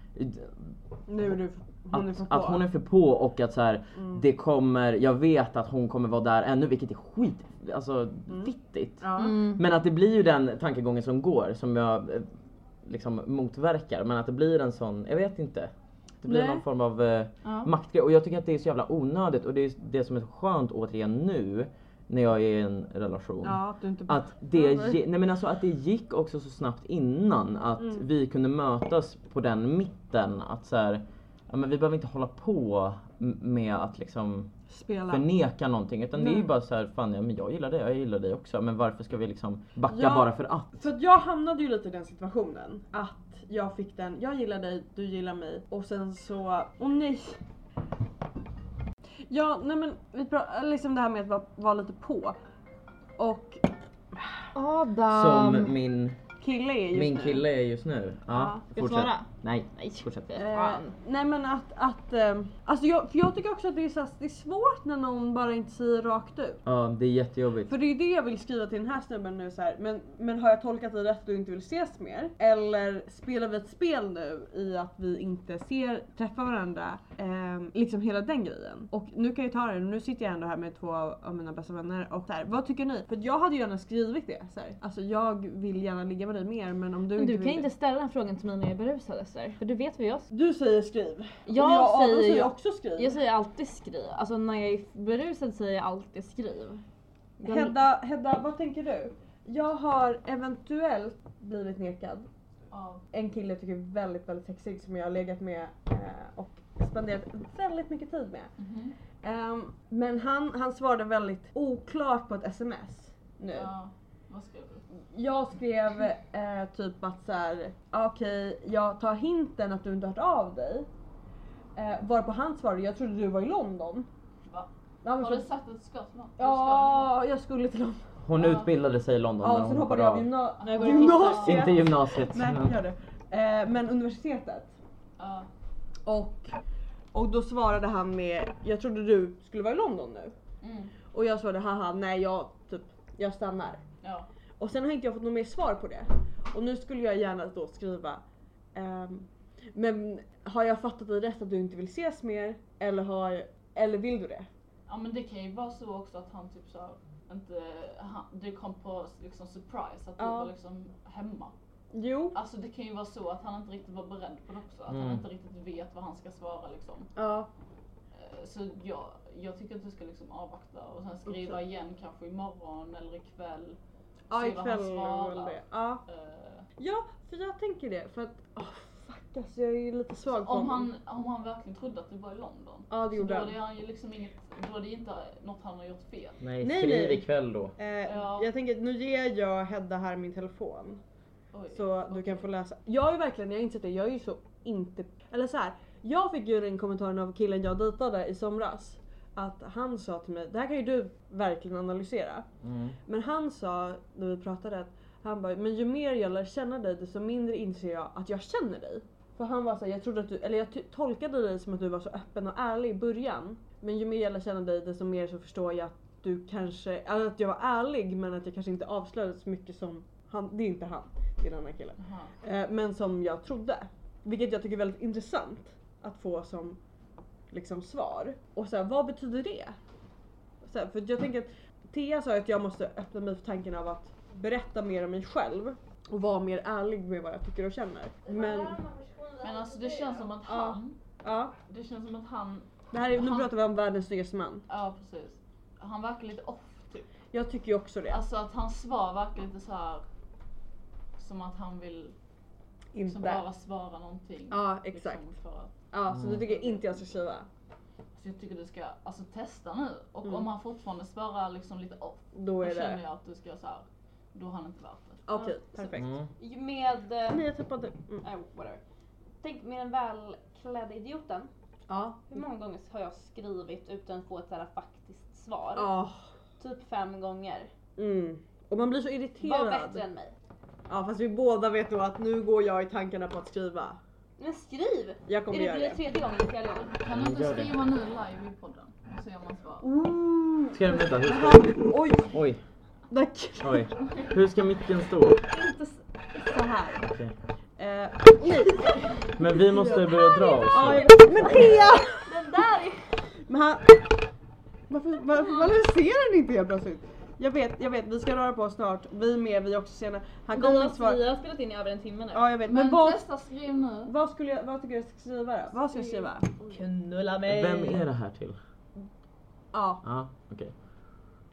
Nu är du... Hon är
att,
för på.
att hon är för på och att så här,
Mm.
det kommer, jag vet att hon kommer vara där ännu vilket är skit, alltså fittigt.
Ja.
Mm.
Men att det blir ju den tankegången som går som jag eh, liksom motverkar. Men att det blir en sån, jag vet inte. Det blir
Nej.
någon form av eh,
Ja.
maktgrej. Och jag tycker att det är så jävla onödigt och det är det som är så skönt återigen nu när jag är i en relation.
Ja, att du inte...
Att det, ge, nej men alltså att det gick också så snabbt innan att
Mm.
vi kunde mötas på den mitten. Att så här, ja, men vi behöver inte hålla på m- med att liksom
Spela.
förneka någonting. Utan det är ju
Nej.
bara så här, fan ja, men jag gillar dig, jag gillar dig också. Men varför ska vi liksom backa
Ja.
bara för att?
För att jag hamnade ju lite i den situationen att jag fick den, jag gillar dig, du gillar mig och sen så, åh nej. Ja, nej men vi pratar liksom det här med att vara, vara lite på. Och
Adam!
Som min,
kille är just
min
nu.
kille är just nu. Ja,
Ja.
Ska jag svara?
Nej,
Nej.
fortsätt.
Fy
Eh,
fan.
nej men att, att ehm, alltså jag, för jag tycker också att det är, så, här- det är svårt när någon bara inte säger rakt ut.
Ja, det är jättejobbigt.
För det är ju det jag vill skriva till den här snubben nu så här. Men, men har jag tolkat dig rätt att du inte vill ses mer? Eller spelar vi ett spel nu i att vi inte ser, träffar varandra? Ehm, liksom hela den grejen. Och nu kan jag ta det, nu sitter jag ändå här med två av av mina bästa vänner och så här, vad tycker ni? För jag hade gärna skrivit det så här. Alltså jag vill gärna ligga med dig mer men om du
Men
inte
du
vill
kan
det-
inte ställa den här frågan till mig när jag är berusad Ester, för du vet vad jag
Du säger skriv.
Jag
och jag, och Adam
säger ju-
också skriv.
Jag säger alltid skriv. Alltså när jag är berusad säger jag alltid skriv. Jag-
Hedda, Hedda, vad tänker du? Jag har eventuellt blivit nekad
Ja.
en kille jag tycker är väldigt, väldigt sexig som jag har legat med eh, och spenderat väldigt mycket tid med.
Mhm.
Ehm, men han, han svarade väldigt oklart på ett sms nu.
ja. Vad skrev du?
Jag skrev eh, typ att så här: "Ah, okej jag tar hinten att du inte har hört av dig. Eh, varpå han svarade, jag trodde du var i London.
Va?
Ja, men
Har du
för-
satt ett skottmål?
Ja, jag skulle till London.
Hon
Ja.
utbildade sig i London men
Ja,
hon
sen hoppade
hoppade
jag av
av.
gymna-
Nej, jag går i
gymnasiet.
Inte gymnasiet.
Nej,
men-
gör det. Eh, men universitetet.
Ja.
Och, och då svarade han med jag trodde du skulle vara i London nu.
Mm.
Och jag svarade haha nej jag typ jag stannar.
Ja.
Och sen har inte jag fått något mer svar på det. Och nu skulle jag gärna då skriva ehm, men har jag fattat dig rätt att du inte vill ses mer eller, har, eller vill du det?
ja men det kan ju vara så också att han typ så inte, han, det kom på liksom surprise att du
Ja.
var liksom hemma.
Jo.
Alltså det kan ju vara så att han inte riktigt var beredd på det också. Att
Mm.
han inte riktigt vet vad han ska svara liksom.
Ja.
Eh, Så jag, jag tycker att du ska liksom avvakta och sen skriva igen kanske imorgon eller ikväll.
Ja
Se vad han
ikväll
svarar.
eller det. Ja.
Eh,
ja för jag tänker det för att åh fuck alltså jag är ju lite svag på
Om
honom.
han, om han verkligen trodde att du var i London.
Ja det
Så då
gjorde
är
han.
det han ju liksom inget, då är det inte något han har gjort fel.
Nej,
Nej,
skriv
nej.
ikväll då.
Eh,
Ja.
Jag tänker nu ger jag Hedda här min telefon.
Oj.
Så du kan få läsa. Jag är verkligen, jag har insett det, jag är ju så inte... Eller så här, jag fick ju den kommentaren av killen jag dejtade i somras. Att han sa till mig, det här kan ju du verkligen analysera.
Mm.
Men han sa när vi pratade att han bara, men ju mer jag lär känna dig desto mindre inser jag att jag känner dig. För han var såhär, jag trodde att du, eller jag ty- tolkade dig som att du var så öppen och ärlig i början. Men ju mer jag lär känna dig desto mer så förstår jag att du kanske, eller att jag var ärlig men att jag kanske inte avslöjade så mycket som han, det är inte han, det är den här killen.
Jaha.
Eh, men som jag trodde. Vilket jag tycker är väldigt intressant att få som liksom svar. Och så här, vad betyder det? Så här, för jag tänker att Thea sa att jag måste öppna mig för tanken av att berätta mer om mig själv. och vara mer ärlig med vad jag tycker och känner. Men
Men alltså det känns som att han,
ja,
det känns som att han,
det här är, nu pratar vi om världens snyggaste man.
ja precis. Han verkar lite off typ.
Jag tycker ju också det.
Alltså att hans svar verkar lite så här som att han vill som
Inte.
bara svara någonting.
Ja exakt.
Liksom, för att,
Ja, så det tycker jag inte jag ska skriva.
så jag tycker du ska alltså, testa nu och
Mm.
om han fortfarande svarar liksom lite off
Då
då
är
känner
det...
jag att du ska så här, då har han inte värt det.
Okej,
Ja.
perfekt.
Mm.
Med, eh,
Nej jag tappade... Mm.
nej, whatever. Tänk med den välklädda idioten.
Ja.
Hur många gånger har jag skrivit utan att få ett så här faktiskt svar?
Ja.
Typ fem gånger.
Ah, Mm. Och man blir så
Var
irriterad.
bättre än mig.
Ja fast vi båda vet då att nu går jag i tankarna på att skriva.
Men skriv!
Jag kommer
är det,
göra
blir det
det.
tredje gången eller fjärde gången?
Kan du
Mm,
inte
gör det.
skriva nu live i podden? Och så gör man
Oh,
svar.
Ooh.
Ska den vänta, hur ska...
Mm. Oj,
Oj,
där
oj. Hur ska micken stå?
inte s- så här.
Okej.
Eh,
Men vi måste börja dra oss.
ja,
nu.
jag- men Thea!
Den där är...
Men han... Varför, varför balanserar den inte helt plötsligt? Jag vet, jag vet, vi ska röra på oss snart. Vi är med, vi är också sena. Han kommer inte svara.
har spelat in i över en timme nu.
Ja jag vet,
Men,
men vad,
testa skriv nu.
vad, skulle jag, vad tycker du jag ska skriva då? Vad ska jag skriva?
Knulla mig!
Vem är det här till?
Ja,
Ja, okej.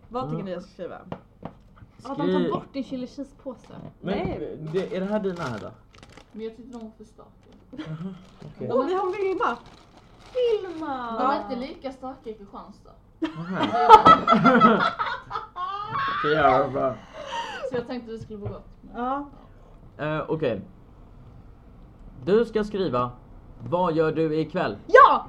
vad tycker
Mm.
ni jag ska skriva?
Att
Mm.
de tar
Skriv-
bort din chili cheese-påse.
Men,
Nej.
det, är det här dina Hedda?
Men jag tyckte de var för starka.
Okej.
Åh, vi har en Vilma!
Filma!
De är inte lika starka i Kristianstad.
Nähä. Okej, ja, bra.
Så jag tänkte det skulle vara gott.
Ja.
Eh, Okej. Du ska skriva Vad gör du ikväll?
Ja!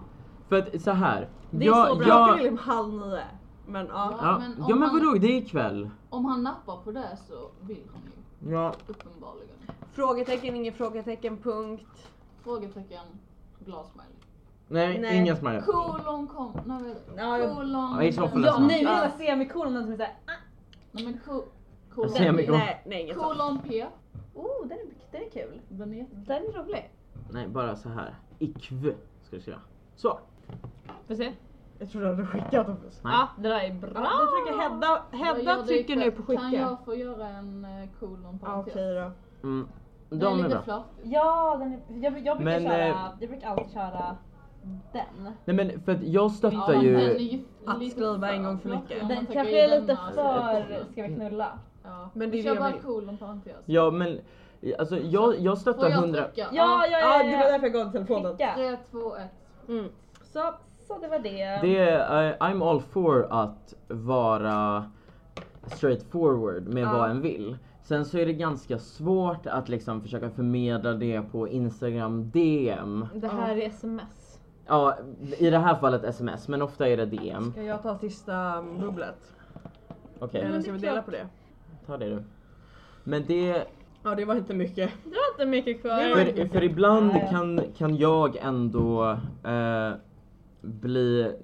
För att så här.
Det är
jag,
så bra. Jag
Jag,
skulle liksom halv nio. Men ja.
ja,
men
men,
om
ja, men
man-
vadå, det är ikväll.
Om han nappar på det så vill han ju.
Ja.
Uppenbarligen.
Frågetecken, ingen frågetecken, punkt.
Frågetecken. Glad smiley.
Nej,
Nej.
ingen smile.
Kolon kom... Nej, vad heter det?
Ja, jag-
Kolon...
Ja, jag är så
Ja,
ledsen.
nej,
Ja.
semikolon som säger
nej, men ko...
Jag ser mig
Kolon...
gå.
Nej, nej inget sånt.
Kolon P.
Oh, den är, den är kul.
Den är jätte-
Den är rolig.
Nej, bara så här. Ikv ska du skriva. Så.
Får se?
Jag trodde du hade skickat dem först.
Nej.
Ja, det där är bra.
Då trycker Hedda,
Vad
Hedda
gör du
trycker nu
ikväll?
på
Kan
skicka.
jag få göra en eh, kolon
Ja,
parentes?
Okej då.
Mm.
Den är
De är
lite
bra.
flörtig.
Ja, den är, jag, jag, brukar
Men,
köra,
eh,
jag brukar alltid köra den.
Nej men för att jag stöttar
Ja,
ju...
den är ju
att
lite
skriva
för
en gång för
flörtig
mycket.
om man
Den
tänker
kanske är
i
lite
denna-
för, ska vi knulla?
Ja.
Men det är
Vi
det
kör
jag
bara
vill.
kolon parentes.
Ja men, alltså jag, jag
Får
stöttar
jag
hundra...
trycka?
Ja, ja,
Ja,
ja,
det var
ja,
därför jag gav telefonen.
ja. Skicka.
Tre, två, ett.
Mm.
Så, så det var det.
Det är, eh, I'm all for att vara straightforward med
Ja.
vad en vill. Sen så är det ganska svårt att liksom försöka förmedla det på Instagram DM.
Det här är sms.
Ja, i det här fallet sms, men ofta är det DM.
Ska jag ta sista um, bubblet?
Okej,
Mm.
Eller ska vi dela på det?
ta det du. Men det,
Ja det var inte mycket.
Det var inte mycket kvar.
för, för ibland
Ja, ja.
kan, kan jag ändå eh, bli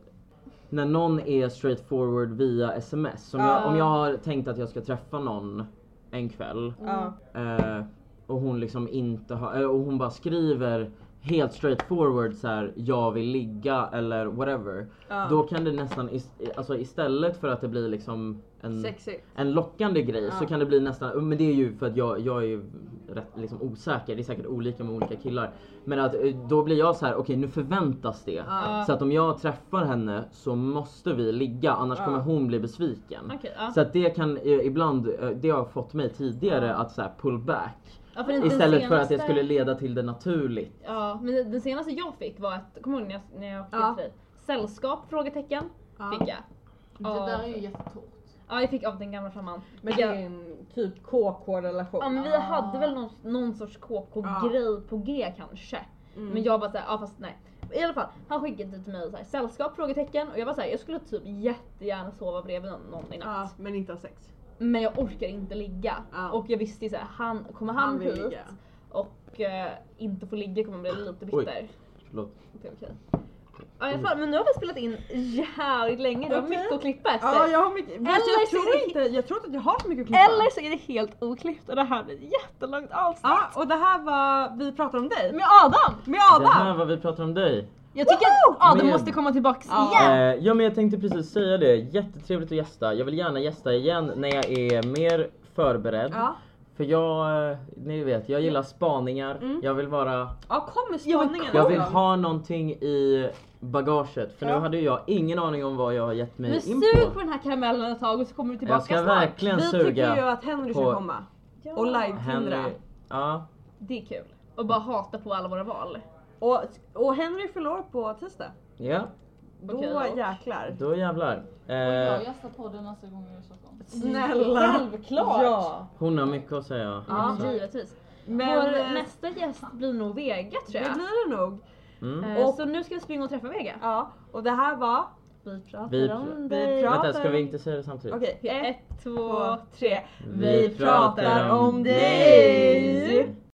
när någon är straightforward via sms, som jag,
Ja.
om jag har tänkt att jag ska träffa någon en kväll
Ja.
Eh, och hon liksom inte har, eh, och hon bara skriver helt straightforward så här: jag vill ligga eller whatever.
Ja.
Då kan det nästan, ist- alltså istället för att det blir liksom en,
Sexigt.
en lockande grej
Ja.
så kan det bli nästan, men det är ju för att jag, jag är ju rätt liksom osäker, det är säkert olika med olika killar. Men att eh, då blir jag så här: okej nu förväntas det.
Ja.
Så att om jag träffar henne så måste vi ligga annars
Ja.
kommer hon bli besviken.
Okej, ja.
Så att det kan eh, ibland, eh, det har fått mig tidigare att så här pull back.
Ja, för den- den
Istället för att det
senaste-
skulle leda till det naturligt.
Ja, men den senaste jag fick var att, kommer du ihåg när jag, när jag skickade
Ja.
till dig? Sällskap? Frågetecken.
Ja.
Fick jag.
Det
Av-
där är ju jättetort.
Ja, jag fick av den gamla flamman.
Men det är en typ KK-relation.
Ja men vi
Ah.
hade väl någon, någon sorts KK-grej på G kanske.
Mm.
Men jag bara såhär, ja fast nej. I alla fall, han skickade till mig såhär, sällskap? Frågetecken. Och jag bara såhär, jag skulle typ jättegärna sova bredvid någon- någon i natt.
Ja, men inte ha sex.
Men jag orkar inte ligga.
Ja.
Och jag visste ju såhär, han, kommer han,
Han vill
hit
ligga.
och eh, inte få ligga kommer jag bli lite bitter.
Förlåt.
Det är okej. Ja i alla fall, men nu har vi spelat in jävligt länge, det var
Okej.
mycket att klippa efter.
Ja jag har mycket, Fast
Eller
jag
så är
tror
det-
inte, jag tror inte att jag har så mycket att klippa.
Eller så är det helt oklippt och det här blir ett jättelångt avsnitt.
Ja och det här var Vi pratar om dig.
Med Adam!
Med
Det här
Adam!
var vi pratar om dig.
Jag tycker att Adam
Med-
måste komma tillbaks
Ja.
igen!
Eh, ja men jag tänkte precis säga det, jättetrevligt att gästa. Jag vill gärna gästa igen när jag är mer förberedd.
Ja.
För jag, eh, ni vet, jag gillar spaningar.
Mm.
Jag vill vara
Ja kom med
Jag vill
spaningen.
Jag vill
Adam.
ha någonting i bagaget för nu
Ja.
hade ju jag ingen aning om vad jag har gett mig
Men
in
sug på
på.
den här karamellen ett tag och så kommer du tillbaka
Jag ska
snart.
verkligen
Vi tycker ju
suga.
att Henry
på-
ska komma. Och live-tindra.
Henry, ja,
Det är kul. Och bara hata på alla våra val.
Och, och Henry förlorar på tisdag.
ja,
Okej
Då
då.
jäklar.
då jävlar.
Jag
Eh,
gästar podden nästa gång jag är i Stockholm.
Snälla.
Självklart!
Ja.
hon har mycket att säga.
Ja.
Så.
Givetvis.
Men
Vår
eh,
nästa gäst blir nog Vega tror
det
jag.
blir det nog.
Mm.
Eh,
Och-
så nu ska vi springa och träffa Vega.
Ja, och det här var...
Vi pratar
Vi-
om
vi
dig.
pratar-
Vänta, ska vi inte säga det samtidigt?
Okej,
Ett, två,
två, tre.
Vi pratar om dig.